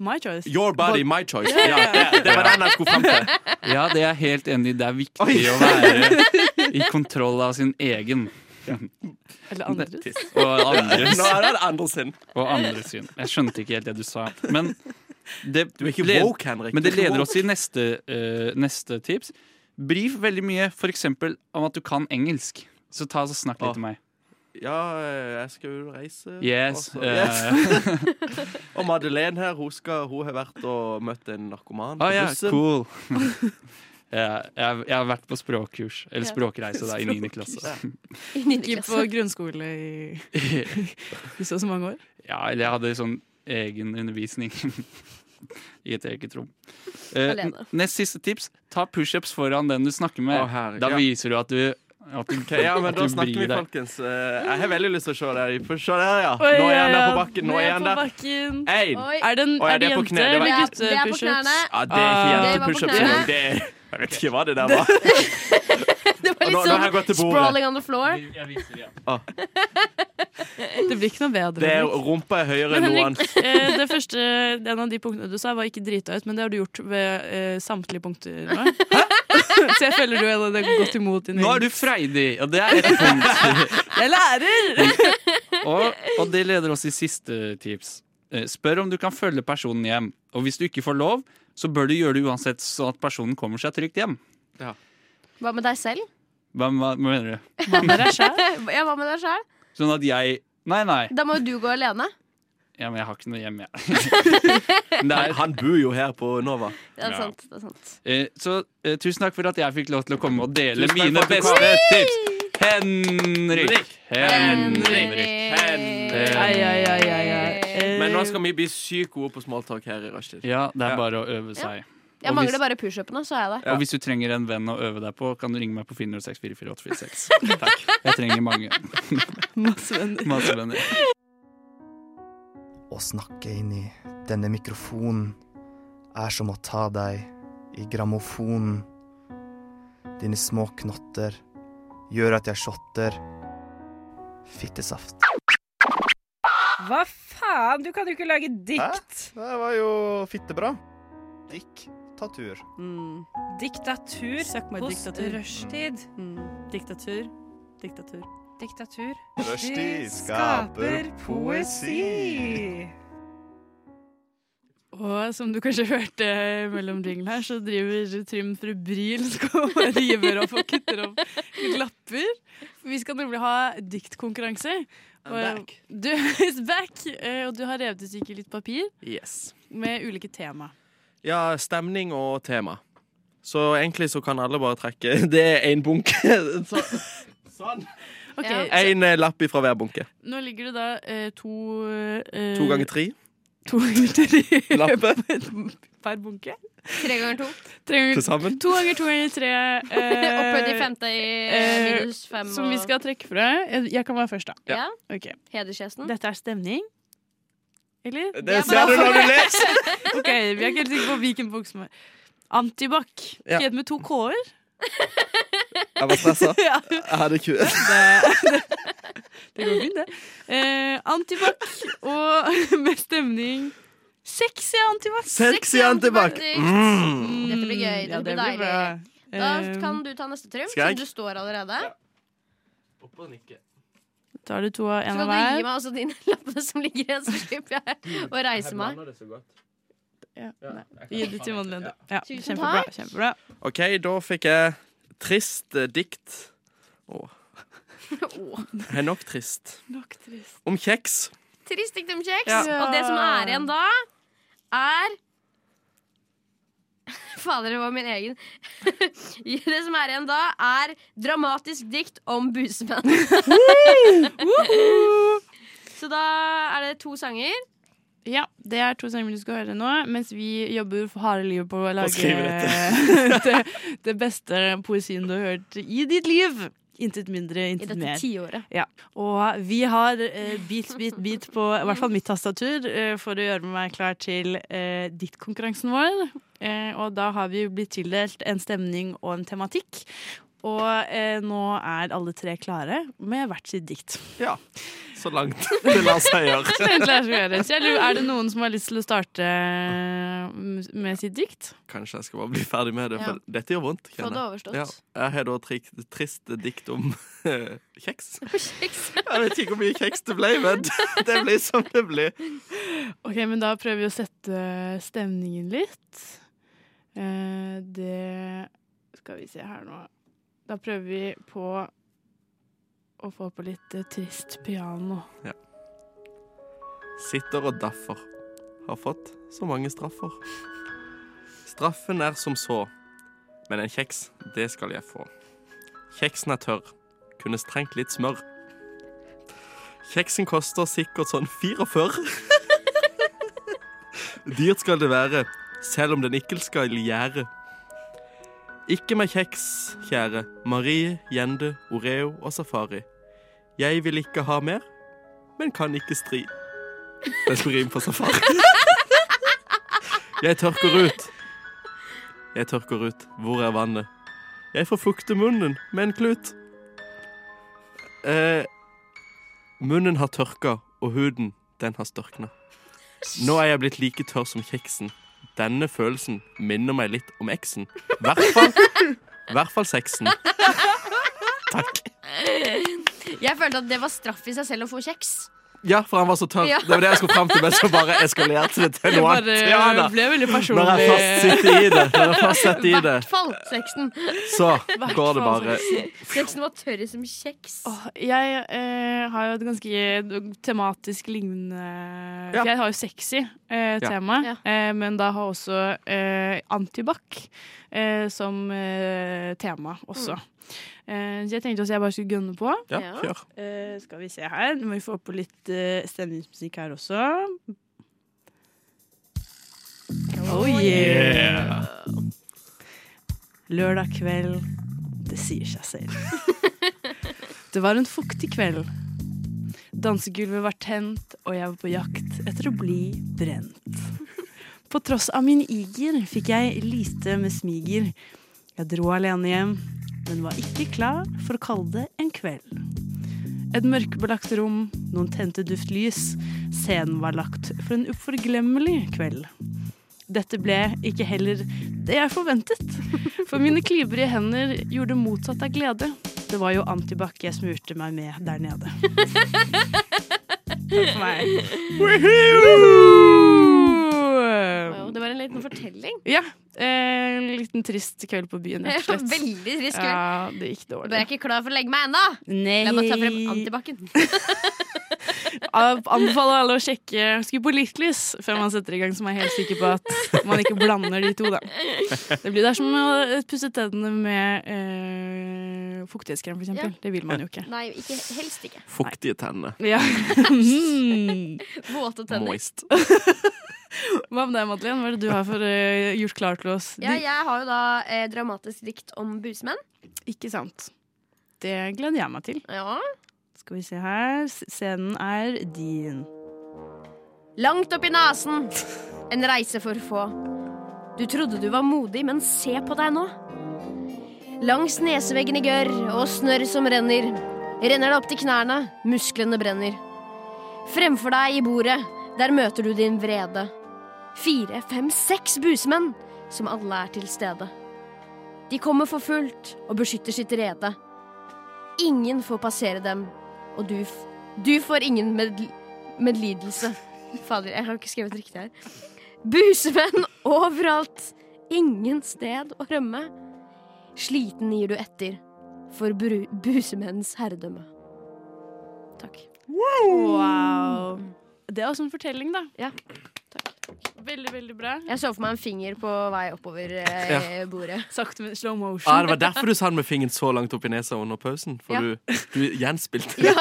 My choice. your body, my choice. Ja, det, det var den jeg skulle fram til. Ja, det er jeg helt enig i. Det er viktig å være i kontroll av sin egen Eller andres. og andres. Nå er det andre sin. og andre syn. Jeg skjønte ikke helt det du sa. Men det, Du er ikke led- woke, Henrik. men det Du er ikke leder woke. oss til neste, eh, neste tips. Brif veldig mye f.eks. om at du kan engelsk. Så ta og snakk litt Å. til meg. Ja, eh, jeg skal jo reise. Yes. også. eh, yes. Og Madeleine her, hun, skal, hun har vært og møtt en narkoman på ah, ja, bussen. cool. Ja, jeg, jeg har vært på språkkurs, eller språkreise, da, i 9. klasse. I niende Gikk klasse. på grunnskole i i så og så mange år. Ja, eller jeg hadde sånn egen undervisning i et eget rom. Eh, Alene. n- nest siste tips. Ta pushups foran den du snakker med. Å, herre- da ja. viser du at du at du, Ok, ja, men at da du snakker vi, bryr deg. folkens. Eh, Jeg har veldig lyst til å se der. Få se der, ja. Nå er han der på bakken. Nå er han der. bakken. Én. Oi. Er det, en, Å, ja, er det, det er på jente kne, det var- eller Det er- gutte det er på pushups? knærne. Ja, det er ikke Ah. jente Det var på pushups knærne. engang. Det er- Jeg vet ikke hva det der var. Det var Og nå- nå har jeg litt gått til sånn bordet. sprawling on the floor. Det blir ikke noe bedre. Det er Henrik. rumpa er høyere Men enn noen. Henrik, eh, det første, en av de punktene du sa, var ikke drita ut, men det har du gjort ved eh, samtlige punkter nå. Så jeg føler du allerede har gått imot din Nå er egen- du freidig, og det er et punkt. Jeg lærer! Og, og det leder oss til siste tips. Eh, Spør om du kan følge personen hjem. Og hvis du ikke får lov, så bør du gjøre det uansett, så at personen kommer seg trygt hjem. Hva med deg selv? Hva, hva mener du? Ja, hva med deg selv? Sånn at jeg Nei, nei. Da må jo du gå alene. Ja, men jeg har ikke noe hjem, jeg. Men det er, Han bor jo her på Nova. Det er Ja. sant. det er sant Eh, Så eh, tusen takk for at jeg fikk lov til å komme og dele Tusen takk mine for at du kom. beste tips. Henrik. Henrik. Henrik. Ai, ai, ai, ai, ai. Eh, Eh, Men nå skal vi bli sykt gode på smalltalk her i rushtid. Ja, det Ja. er bare å øve seg. Jeg Og mangler hvis- bare pushupene, så er jeg der. Og hvis du trenger en venn å øve deg på, kan du ringe meg på 406-44846. Takk. Jeg trenger mange. Masse venner. Masse venner. Å snakke inn i Denne mikrofonen er som å ta deg i grammofonen. Dine små knotter gjør at jeg shotter. Fittesaft. Hva faen? Du kan jo ikke lage dikt! Det var jo fittebra. Diktatur. Mm. Diktatur Søkk meg hos diktatur. rushtid. Mm. Diktatur. Diktatur. Diktatur. Rushtid Vi skaper poesi. Og som du kanskje hørte mellom jinglene her, så driver Trym febrilsk og bare river opp og kutter opp lapper. For vi skal nemlig ha diktkonkurranse. Og back. Du is back! eh, Og du har revet ut ikke litt papir Yes. med ulike tema. Ja, stemning og tema. Så egentlig så kan alle bare trekke Det er én bunke. Så, sånn. Ok, Ja. Én lapp ifra hver bunke. Nå ligger det da eh, to eh, To ganger tre. To ganger tre Lappe. per bunke. Tre ganger to. Tre Til ganger, sammen. to ganger to ganger tre. eh, Opphøyd i femte i eh, minus fem. Som vi skal trekke fra. Jeg- Jeg kan være først, da. og, ja. Ok. Hedersgjesten. Dette er stemning. Eller? Det ser du når du altså- leser! Ok, Vi er ikke helt sikre på hvilken bok som er Antibac. Ja. Skrevet med to k-er. Jeg var stressa. Ja. Jeg hadde ku. Det går fint, det. Eh, Antibac og med stemning Sexy Antibac. Sexy antibac. Mm. Dette blir gøy. Ja, Dette blir blir bra. deilig. Da Eh, kan du ta neste, Trym. Skal jeg? Siden du står allerede. Tar du to av Så en kan av du gi hver? meg også dine lappene som ligger igjen, så slipper Mm. jeg å reise meg. Ja, nei. Gi det til Madeleine. da. Ja, Tusen kjempebra. takk. kjempebra. OK, da fikk jeg trist eh, dikt. Å. Er nok trist. Nok trist. Om kjeks. Trist dikt om kjeks. Ja. Og det som er igjen da, er Fader, det var min egen. Det som er igjen da, er dramatisk dikt om busemenn. Så da er det to sanger. Ja, det er to sanger du skal høre nå, mens vi jobber for harde livet på å skrive lage det, det beste poesien du har hørt i ditt liv. Intet mindre, I intet dette mer. tiåret. Og vi har eh, beat, beat, beat på i hvert fall mitt tastatur eh, for å gjøre meg klar til eh, diktkonkurransen vår. Eh, og da har vi blitt tildelt en stemning og en tematikk. Og eh, nå er alle tre klare med hvert sitt dikt. Ja. Så langt det lar seg gjøre. Det er egentlig det som gjør det. Så jeg lurer, er det noen som har lyst til å starte eh, med sitt dikt? Kanskje jeg skal bare bli ferdig med det, for dette gjør vondt. Få det kjenner jeg. overstått. Ja. Jeg har da trik, trist dikt om eh, kjeks. Kjeks. Jeg vet ikke hvor mye kjeks det ble, men det ble som det ble. Ok, men da prøver vi å sette stemningen litt. Eh, Det skal vi se her nå. Da prøver vi på å få på litt eh, trist piano. Sitter og daffer. Har fått så mange straffer. Straffen er som så, men en kjeks, det skal jeg få. Kjeksen er tørr. Kunne strengt litt smør. Kjeksen koster sikkert sånn 44. Dyrt skal det være, selv om den ikke skal gjære. Ikke med kjeks, kjære. Marie, Gjende, Oreo og Safari. Jeg vil ikke ha mer, men kan ikke stri. Den skulle rime på safari. Jeg tørker ut. Jeg tørker ut. Hvor er vannet? Jeg får fukte munnen med en klut. Eh, munnen har tørka, og huden, den har størkna. Nå er jeg blitt like tørr som kjeksen. Denne følelsen minner meg litt om eksen. Hvert fall, hvert fall sexen. Takk. Jeg følte at det var straff i seg selv å få kjeks. Ja, for han var så tørr. Ja. Det var det jeg skulle fram til, men så bare eskalerte det til Det noe annet. Ja, da. bare ble veldig personlig. Når jeg først sitter i det, når jeg først sitter I i det, hvert fall sexen. så går det bare Sexen var tørr som kjeks. Åh, jeg eh, har jo et ganske tematisk lignende Ja. For jeg har jo sexy eh, tema, Ja. eh, men da har også eh, antibac eh, som eh, tema også. Eh, så jeg tenkte også jeg bare skulle gønne på. Ja, Ja. kjør. Eh, skal vi se her. Nå må vi få på litt eh, stemningsmusikk her også. Oh yeah! Lørdag kveld, det sier seg selv. det var en fuktig kveld. Dansegulvet var tent, og jeg var på jakt etter å bli brent. På tross av min iger fikk jeg lite med smiger. Jeg dro alene hjem, men var ikke klar for å kalle det en kveld. Et mørkebelagt rom, noen tente duftlys. Scenen var lagt for en uforglemmelig kveld. Dette ble ikke heller det jeg forventet, for mine klybrige hender gjorde motsatt av glede. Det var jo antibac jeg smurte meg med der nede. Takk for meg. Woohoo! Wow, det var en liten fortelling. Ja. eh, En liten trist kveld på byen, rett og slett. Veldig trist kveld. Ja, det gikk Da er dårlig. jeg ikke klar for å legge meg ennå. Nei. Jeg må ta frem antibac-en. Ab- Anbefaler alle å sjekke skru på litt lys før man setter i gang, så man er helt sikker på at man ikke blander de to. Da. Det blir det er som å pusse tennene med eh, fuktighetskrem, for eksempel. Det vil man jo ikke. Nei, ikke, helst ikke. Fuktige tenner. Ja. Mm. Våte tenner. Moist. Hva med deg, Madeleine? Hva er det du har for, eh, gjort klar til oss? Ja, jeg har jo da eh, dramatisk dikt om busmenn. Ikke sant. Det gleder jeg meg til. Ja. Skal vi se her. S- Scenen er din. Langt oppi nesen. En reise for få. Du trodde du var modig, men se på deg nå. Langs neseveggen i gørr og snørr som renner, renner det opp til knærne, musklene brenner. Fremfor deg i bordet, der møter du din vrede. Fire, fem, seks busmenn, som alle er til stede. De kommer for fullt og beskytter sitt rede. Ingen får passere dem, og du, f du får ingen med medlidelse. Fader, jeg har ikke skrevet riktig her. Busemenn overalt. Ingen sted å rømme. Sliten gir du etter for bru- busemenns herredømme. Takk. Wow. Mm. Det er også en fortelling, da. Ja. Veldig, veldig bra. Jeg så for meg en finger på vei oppover eh, bordet. Sakte, men slow motion. Ah, det var derfor du sa den med fingeren så langt opp i nesa under pausen. For Ja. du, du gjenspilte Ja.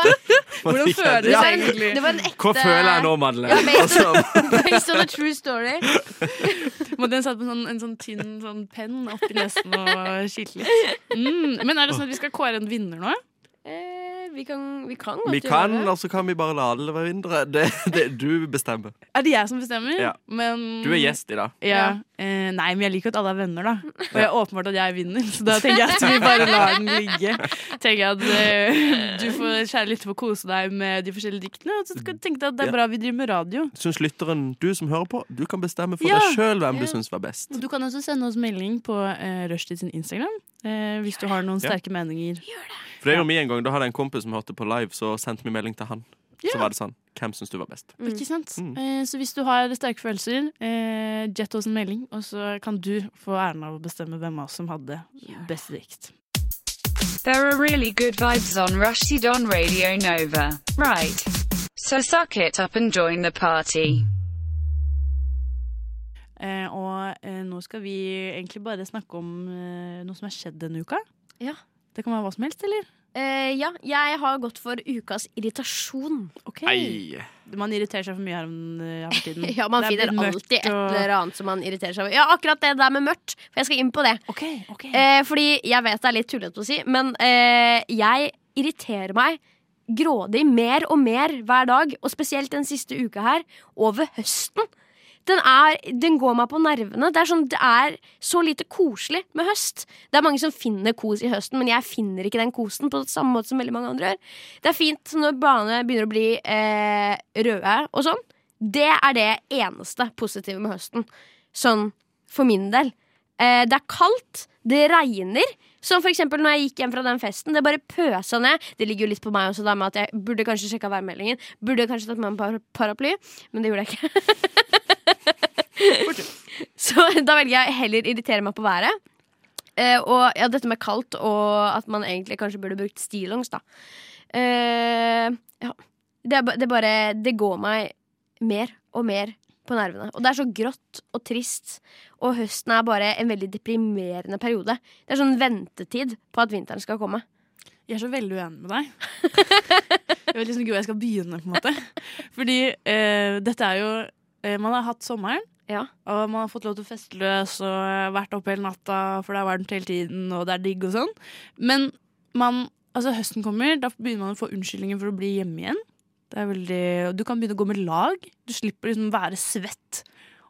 Man Hvordan fikk føles det. Det Ja, var en, egentlig. det var en ekte Hva føler jeg nå, Ja, Madeleine? based- Altså, Based on a true story. Men den satt på en sånn, en sånn tynn sånn penn oppi nesen og kilte litt. Mm. Men er det sånn at vi skal kåre en vinner nå? Eh, vi kan, vi kan godt vi kan, gjøre det. og så kan vi bare la alle være indre. Det, det, du bestemmer. Er det jeg som bestemmer? Ja. Men, Du er Mm. gjest i dag. Ja. Eh, nei, men jeg liker at alle er venner, da. Og jeg er åpenbart at jeg vinner, så da tenker jeg at vi bare lar den ligge. Tenker jeg at eh, Du får kjære lytter få kose deg med de forskjellige diktene. Og så skal du tenke deg at det Ja. er bra vi driver med radio. Syns lytteren, du som hører på, du kan bestemme for Ja. deg sjøl hvem du syns var best. Du kan også sende oss melding på eh, Rushdie sin Instagram eh, hvis du har noen Ja. sterke meninger. For det gjorde vi en gang, Da hadde jeg en kompis som hørte på live, så sendte vi melding til han. Så var det sånn Hvem syns du var best? Ikke sant? Mm. Eh, så hvis du har sterke følelser, eh, jet oss en melding, og så kan du få æren av å bestemme hvem av oss som hadde best dikt. There are really good vibes on Rushdie on Radio Nova. Right. So suck it up and join the party. Eh, og eh, nå skal vi egentlig bare snakke om eh, noe som har skjedd denne uka. Ja. Det kan være hva som helst, eller? Eh, ja, jeg har gått for ukas irritasjon. Ok. Ei. Man irriterer seg for mye her om, eh, her for tiden. Ja, man Det er finner blitt mørkt alltid et og- eller annet som man irriterer seg over. Ja, akkurat det der med mørkt, for jeg skal inn på det. Ok, ok. Eh, fordi jeg vet det er litt tullete å si, men eh, jeg irriterer meg grådig mer og mer hver dag, og spesielt den siste uka her, over høsten. Den, er, den går meg på nervene. Det er, sånn, det er så lite koselig med høst. Det er mange som finner kos i høsten, men jeg finner ikke den kosen på samme måte som veldig mange andre gjør. Det er fint når bladene begynner å bli eh, røde og sånn. Det er det eneste positive med høsten. Sånn for min del. Eh, det er kaldt, det regner. Som for eksempel når jeg gikk hjem fra den festen. Det bare pøsa ned. Det ligger jo litt på meg også, da, med at jeg burde kanskje sjekka værmeldingen. Burde kanskje tatt med meg en par- paraply, men det gjorde jeg ikke. Så da velger jeg heller irritere meg på været. Eh, og ja, dette med kaldt, og at man egentlig kanskje burde brukt stillongs, da. Eh, ja. Det, er, ba- det bare Det går meg mer og mer på nervene. Og det er så grått og trist. Og høsten er bare en veldig deprimerende periode. Det er sånn ventetid på at vinteren skal komme. Jeg er så veldig uenig med deg. Jeg vet liksom ikke hvor jeg skal begynne. på en måte Fordi eh, dette er jo eh, Man har hatt sommeren, Ja. og man har fått lov til å feste løs og vært oppe hele natta, for det er varmt hele tiden, og det er digg og sånn. Men man, altså høsten kommer, da begynner man å få unnskyldninger for å bli hjemme igjen. Det er veldig, og du kan begynne å gå med lag. Du slipper liksom være svett.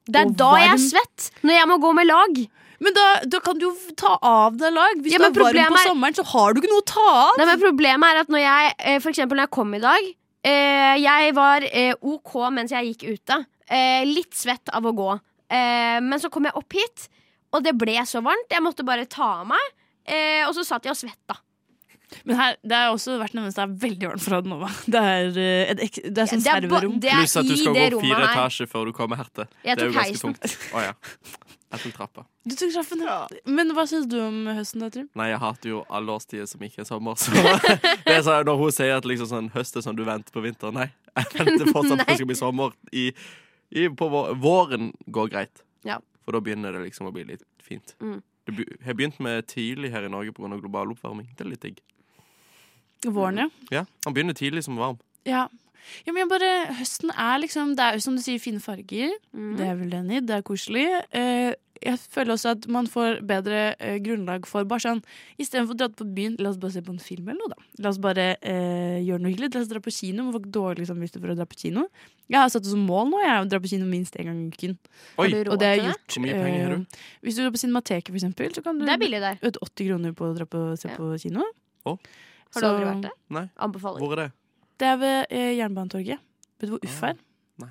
Det er og da jeg er varm. svett. Når jeg må gå med lag. Men da, da kan du jo ta av deg lag. Hvis Ja, du men er varm på problemet er- sommeren, så har du ikke noe å ta av. Nei, men Problemet er at når jeg, eh, for eksempel når jeg kom i dag eh, Jeg var eh, OK mens jeg gikk ute. Eh, Litt svett av å gå. Eh, Men så kom jeg opp hit, og det ble så varmt. Jeg måtte bare ta av meg. Eh, Og så satt jeg og svetta. Men her, det har også vært noe mens det er veldig varmt for Adnova. Det er, eh, et, ek- det er sånn Ja, det er ba- serverom. det er Pluss at du i skal gå det opp rommet fire her. etasjer før du kommer herte. Jeg det er jo tok ganske heisen. tungt. Å ja. Jeg tok trappa. Du tok straffen, ja. Men hva syns du om høsten, da, Trym? Nei, jeg hater jo alle årstider som ikke er sommer. Så det er sånn, når hun sier at liksom sånn, høst er sånn du venter på vinter Nei, jeg venter fortsatt på at det skal bli sommer. I, i, på vår, våren går greit, Ja. for da begynner det liksom å bli litt fint. Mm. Det be- har begynt med tidlig her i Norge pga. global oppvarming. Det er litt digg. Våren, ja. Ja, Han begynner tidlig som varm. ja. Ja, men jeg bare, høsten er liksom Det er jo som du sier, fine farger. Det er jeg veldig enig i. Det er koselig. Eh, jeg føler også at man får bedre eh, grunnlag for bare sånn Istedenfor å dra på byen, la oss bare se på en film eller noe, da. La oss bare eh, gjøre noe hyggelig. La oss dra på kino. Man får ikke dårlig samvittighet for å dra på kino. Jeg har satt det som mål nå, jeg, å dra på kino minst én gang i uken. Oi. Har du råd Og det har jeg til det? gjort. Hvor mye penger har du? eh, Hvis du går på Cinemateket, for eksempel, så kan du Det er billig der. ut 80 kroner på å dra på, se på kino. Å? Har du aldri vært der? Nei. Anbefaler. Hvor er det? Det er ved eh, Jernbanetorget. Vet du hvor UFF er? Nei.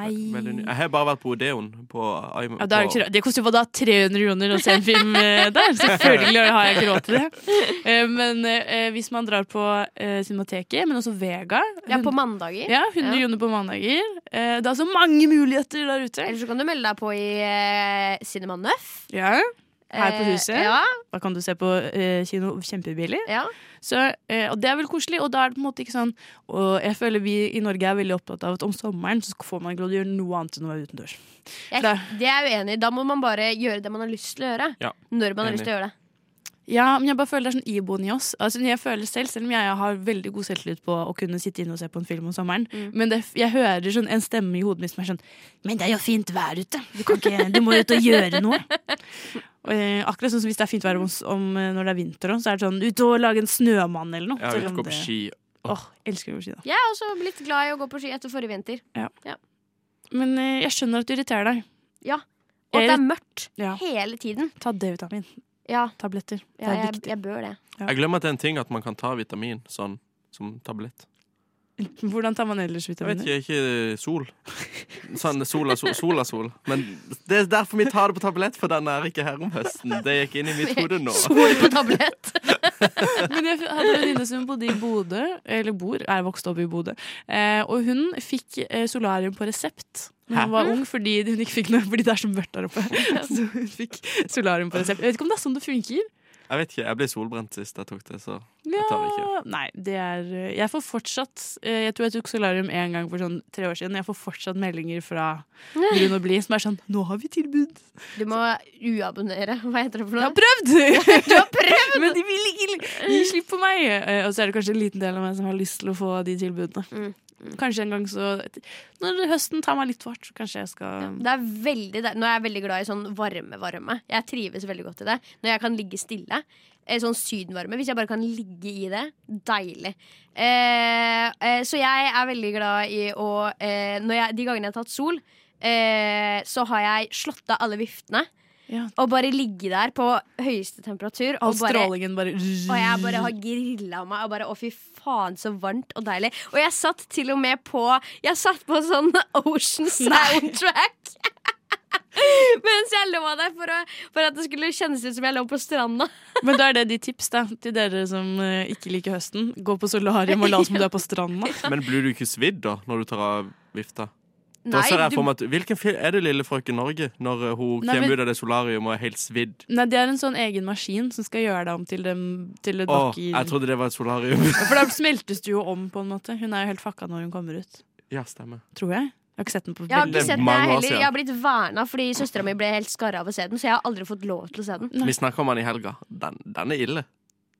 Nei. Veldig ny. Jeg har bare vært på Odeon. På, Ja, det, er jo ikke, råd- det koster jo hva da 300 kroner å se en film eh, der. Selvfølgelig har jeg ikke råd til det. Eh, Men eh, hvis man drar på eh, Cinemateket, men også Vega Ja, på hun- mandager. Ja, 100 Ja. kroner på mandager. Eh, Det er altså mange muligheter der ute. Eller så kan du melde deg på i eh, Cinema Nøff. Ja, her på Eh, huset. ja. Da kan du se på eh, kino kjempebillig. Ja. Så, eh, og det er veldig koselig. Og da er det på en måte ikke sånn Og jeg føler vi i Norge er veldig opptatt av at om sommeren så får man ikke lov til å gjøre noe annet enn å være utendørs. Jeg, det er jeg uenig i. Da må man bare gjøre det man har lyst til å gjøre. Ja. Når man har Enig. lyst til å gjøre det. Ja, men jeg bare føler det er sånn iboende i oss. Altså, jeg føler selv, selv om jeg har veldig god selvtillit på å kunne sitte inne og se på en film om sommeren, men det, jeg hører sånn en stemme i hodet mitt som er sånn Men det er jo fint vær ute! Du, kan ikke, du må jo ut og gjøre noe! Og, eh, akkurat sånn som hvis det er fint vær om, om, eh, når det er vinter, også, så er det sånn ut og lage en snømann eller noe. Jeg har selv ikke om gått på det- ski. Åh, elsker å gå på ski, da. Jeg er også blitt glad i å gå på ski etter forrige vinter. Ja. Ja. Men eh, jeg skjønner at du irriterer deg. Ja. Og at det er mørkt Ja. hele tiden. Ta D-vitamin. Ja. Tabletter. Det Ja, er jeg, viktig. jeg bør det. Jeg glemmer at det er en ting at man kan ta vitamin sånn som tablett. Hvordan tar man ellers Jeg vet vitaminer? ikke, ikke sol. Sånn sol er sol, sol er sol. Men det er derfor vi tar det på tablett, for den er ikke her om høsten. Det gikk inn i mitt hode nå. Sol på tablett. Men jeg hadde en venninne som bodde i Bodø, eller bor, er vokst opp i Bodø. Eh, og hun fikk eh, solarium på resept da hun Hæ? var ung, fordi hun ikke fikk noe fordi det er så mørkt der oppe. Så hun fikk solarium på resept. Jeg vet ikke om det er sånn det funker. Jeg vet ikke, jeg ble solbrent sist jeg tok det, så Ja, jeg tar det ikke. nei, det er eh, Jeg får fortsatt eh, Jeg tror jeg tok solarium én gang for sånn tre år siden. Jeg får fortsatt meldinger fra Brun og Blid som er sånn 'Nå har vi tilbud!' Du må uabonnere. Hva heter det for Jeg har noe? prøvd! Du har prøvd! Men de vil ikke gi slipp på meg. Eh, Og så er det kanskje en liten del av meg som har lyst til å få de tilbudene. Mm, Kanskje en gang så Når høsten tar meg litt hardt, så kanskje jeg skal Det er veldig der. Nå er jeg veldig glad i sånn varme-varme. Jeg trives veldig godt i det. Når jeg kan ligge stille. Eh, Sånn sydenvarme. Hvis jeg bare kan ligge i det. Deilig. Eh, eh, så jeg er veldig glad i å eh, når jeg, De gangene jeg har tatt sol, eh, så har jeg slått av alle viftene. Ja. Og bare ligge der på høyeste temperatur. All Og bare strålingen bare Og jeg bare har grilla meg. Og bare, Å, fy faen, så varmt og deilig. Og jeg satt til og med på Jeg satt på sånn Ocean soundtrack. Mens jeg lå der for, å, for at det skulle kjennes ut som jeg lå på stranda. Men da er det de tips da til dere som eh, ikke liker høsten. Gå på solarium og la som du er på stranda. Men blir du ikke svidd da, når du tar av vifta? Da Nei, ser jeg du- for meg at, Hvilken film er det Lille frøken Norge, når eh, hun Nei, kommer men- ut av det solarium og er helt svidd? Nei, det er en sånn egen maskin som skal gjøre deg om til, dem, til et Å, bakker... jeg trodde det var et solarium. For da smeltes du jo om, på en måte. Hun er jo helt fucka når hun kommer ut. Ja, stemmer. Tror jeg. Jeg har ikke sett den på Jeg har veldig ikke sett den mange jeg år heller. siden. Jeg har blitt verna fordi søstera mi ble helt skarra av å se den, så jeg har aldri fått lov til å se den. Vi snakka om den i helga. Den, den er ille,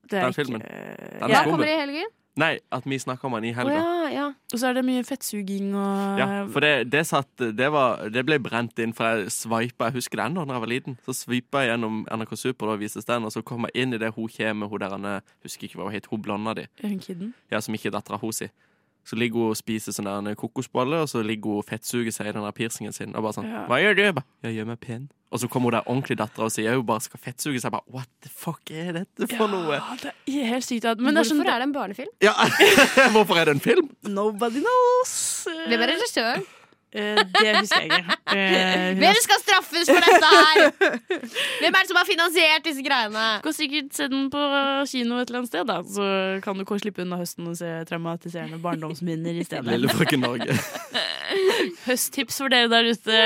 Det den er filmen. ikke... Den Hva er kommer skummel. i helgen? Nei, at vi snakka om den i Å helga. ja, ja. Og så er det mye fettsuging og Ja, for det, det satt det, var, det ble brent inn, for jeg sveipa Jeg husker det ennå da jeg var liten. Så sveipa jeg gjennom NRK Super, da vises den, og så kom jeg inn i det hun kommer med hun der han, eh, Husker ikke hva hun het, hun blonda di. Hun kidden. Ja, som ikke er dattera hennes. Så ligger hun og spiser sånn der en kokosbolle, og så ligger hun og fettsuger seg i den der piercingen sin. Og bare sånn, Ja. hva gjør du? Jeg bare, jeg gjør meg pen. Og så kommer hun der ordentlig dattera og sier hun bare skal fettsuge seg. Jeg bare, what the fuck er dette for noe? Det er helt sykt at men det er Hvorfor sånn, er det en barnefilm? Ja, Hvorfor er det en film? Nobody knows. Hvem er regissøren? Eh, det husker jeg ikke. Eh, hun Hvem har- skal straffes for dette her? Hvem er det som har finansiert disse greiene? Gå sikkert se den på kino et eller annet sted, da. Så kan du kanskje slippe unna høsten og se traumatiserende barndomsminner i stedet. Lille frøken Norge. Høsttips for dere der ute.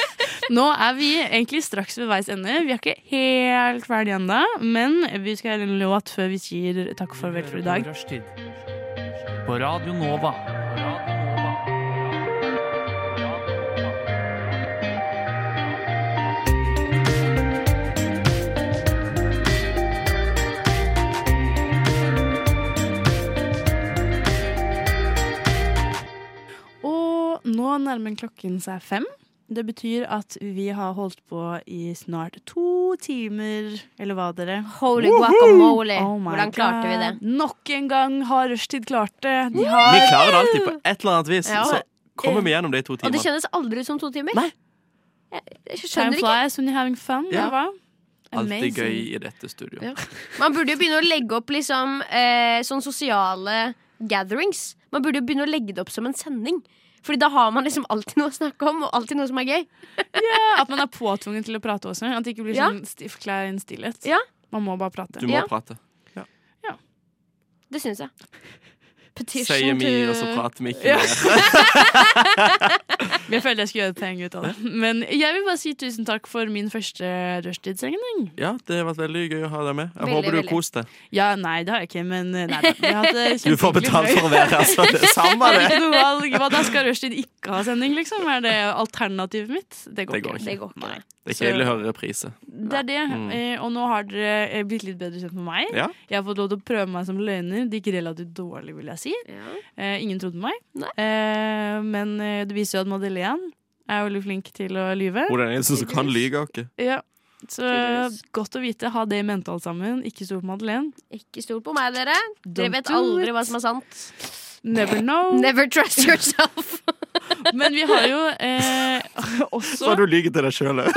Nå er vi egentlig straks ved veis ende. Vi er ikke helt ferdige ennå, men vi skal høre en låt før vi sier takk og farvel for i dag. Rushtid. På Radio Nova. Og nå nærmer klokken seg fem. Det betyr at vi har holdt på i snart to timer, eller hva dere? Holy Woohoo! guacamole. my Hvordan klarte vi det? Nok en gang har rushtid klart det. De har Vi klarer det alltid på et eller annet vis. Ja. Så kommer vi gjennom de to Og det timene. kjennes aldri ut som to timer. Jeg Time skjønner ikke. flies when you're having fun. Ja. eller hva? Alltid Amazing. gøy i dette studio. Man burde jo begynne å legge opp liksom, eh, sånn sosiale gatherings. Man burde jo begynne å legge det opp som en sending. Fordi da har man liksom alltid noe å snakke om, og alltid noe som er gøy. Ja, at man er påtvunget til å prate også. At det ikke blir Ja. sånn stiv, klein stillhet. Ja. Man må bare prate. Du må Ja. prate. Det syns jeg. Sier vi, og så prater vi ikke Ja. mer. Jeg føler jeg skulle gjøre et poeng ut av det. Men jeg vil bare si tusen takk for min første rushtidssending. Ja, det har vært veldig gøy å ha deg med. Jeg Veldig, håper du veldig. har kost deg. Ja, nei, det har jeg ikke, men eh, nei da. Jeg har hatt det Du får kjempehyggelig. betalt for å være her, så det er samme Det er det. ikke noe valg. Hva da skal rushtid ikke ha sending, liksom? Er det alternativet mitt? Det går, Det går ikke. ikke. Det Nei. Det er kjedelig å høre reprise. Det er det. Mm. Eh, Og nå har dere eh, blitt litt bedre kjent med meg. Ja. Jeg har fått lov til å prøve meg som løgner. Det gikk relativt dårlig, vil jeg si. Eh, Ingen trodde meg. Eh, Men eh, det viser jo at Madeleine er veldig flink til å lyve. Hun er den eneste som kan lyve, ikke? Ja. Så godt å vite. Ha det i mente, alle sammen. Ikke stol på Madeleine. Ikke stol på meg, dere. Dere Don't vet do it. aldri hva som er sant. Never know. Never trust yourself. Men vi har jo eh, Så også du lyver til deg sjøl òg.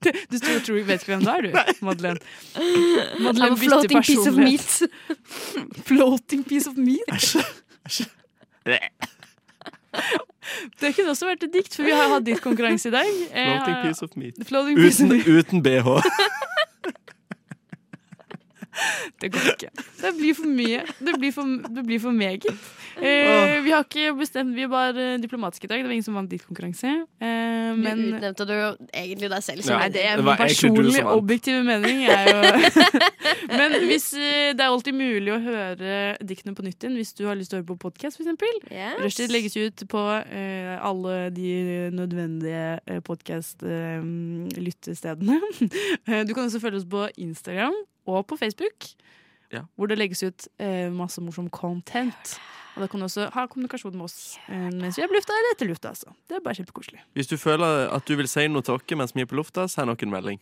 Du tror, tror, vet ikke hvem du er, du, Madeleine. I'm a Madeleine bytter floating piece of personlighet. meat. Floating piece of meat. Det kunne også vært et dikt, for vi har hatt diktkonkurranse i dag. Eh, Floating piece of meat. Floating piece Uten, of meat. uten BH. Det går ikke. Det blir for mye. Det blir for, det blir for meget. Eh, vi har ikke bestemt Vi er bare eh, diplomatiske i dag. Det var ingen som vant diktkonkurranse. Eh, Du men utnevnte du jo egentlig deg selv. Nei, det er det min var egentlig du personlige, som vant. objektive mening. Er jo Men hvis eh, det er alltid mulig å høre diktene på nytt igjen hvis du har lyst til å høre på podkast, f.eks. Yes. Rushtid legges jo ut på eh, alle de nødvendige uh, podkast-lyttestedene. Eh, du kan også følge oss på Instagram og på Facebook, Ja. hvor det legges ut eh, masse morsom content. Og da kan du også ha kommunikasjon med oss eh, mens vi er på lufta eller etter lufta. Altså. Det er bare kjempekoselig. Hvis du føler at du vil si noe til oss mens vi er på lufta, send oss en melding.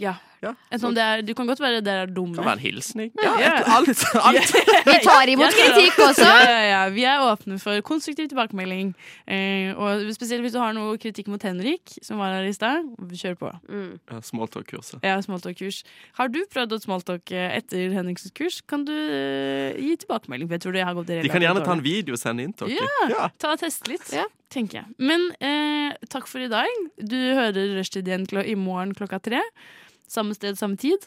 Ja. Enten om det er, du kan godt være dere er dumme. Det kan være en hilsning. Ja, et- alt. alt. Vi tar imot Jeg tror det. kritikk også. Ja, ja, ja. Vi er åpne for konstruktiv tilbakemelding. Eh, og spesielt hvis du har noe kritikk mot Henrik, som var her i stad. Kjør på. Mm. Ja, Smalltalk-kurset. Jeg har smalltalk-kurs. Har du prøvd å smalltalke etter Henriks kurs, kan du eh, gi tilbakemelding. For jeg tror det har gått De kan gjerne ta en video og sende inn til oss. Ja, ta og teste litt, tenker jeg. Men eh, takk for i dag. Du hører Rushtid igjen klo- i morgen klokka tre. Samme sted, samme tid.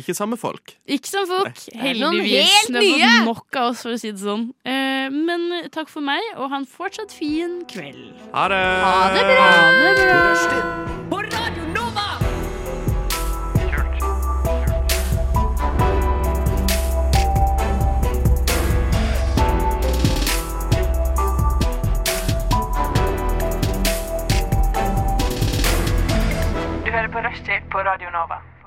Ikke samme folk. Ikke som folk, Nei. Det er noen heldigvis. helt Det er nye. fått nok av oss, for å si det sånn. Eh, men takk for meg, og ha en fortsatt fin kveld. Ha det! Ha det bra! Ha det bra. Du hører på Rushtid på Radio Nova.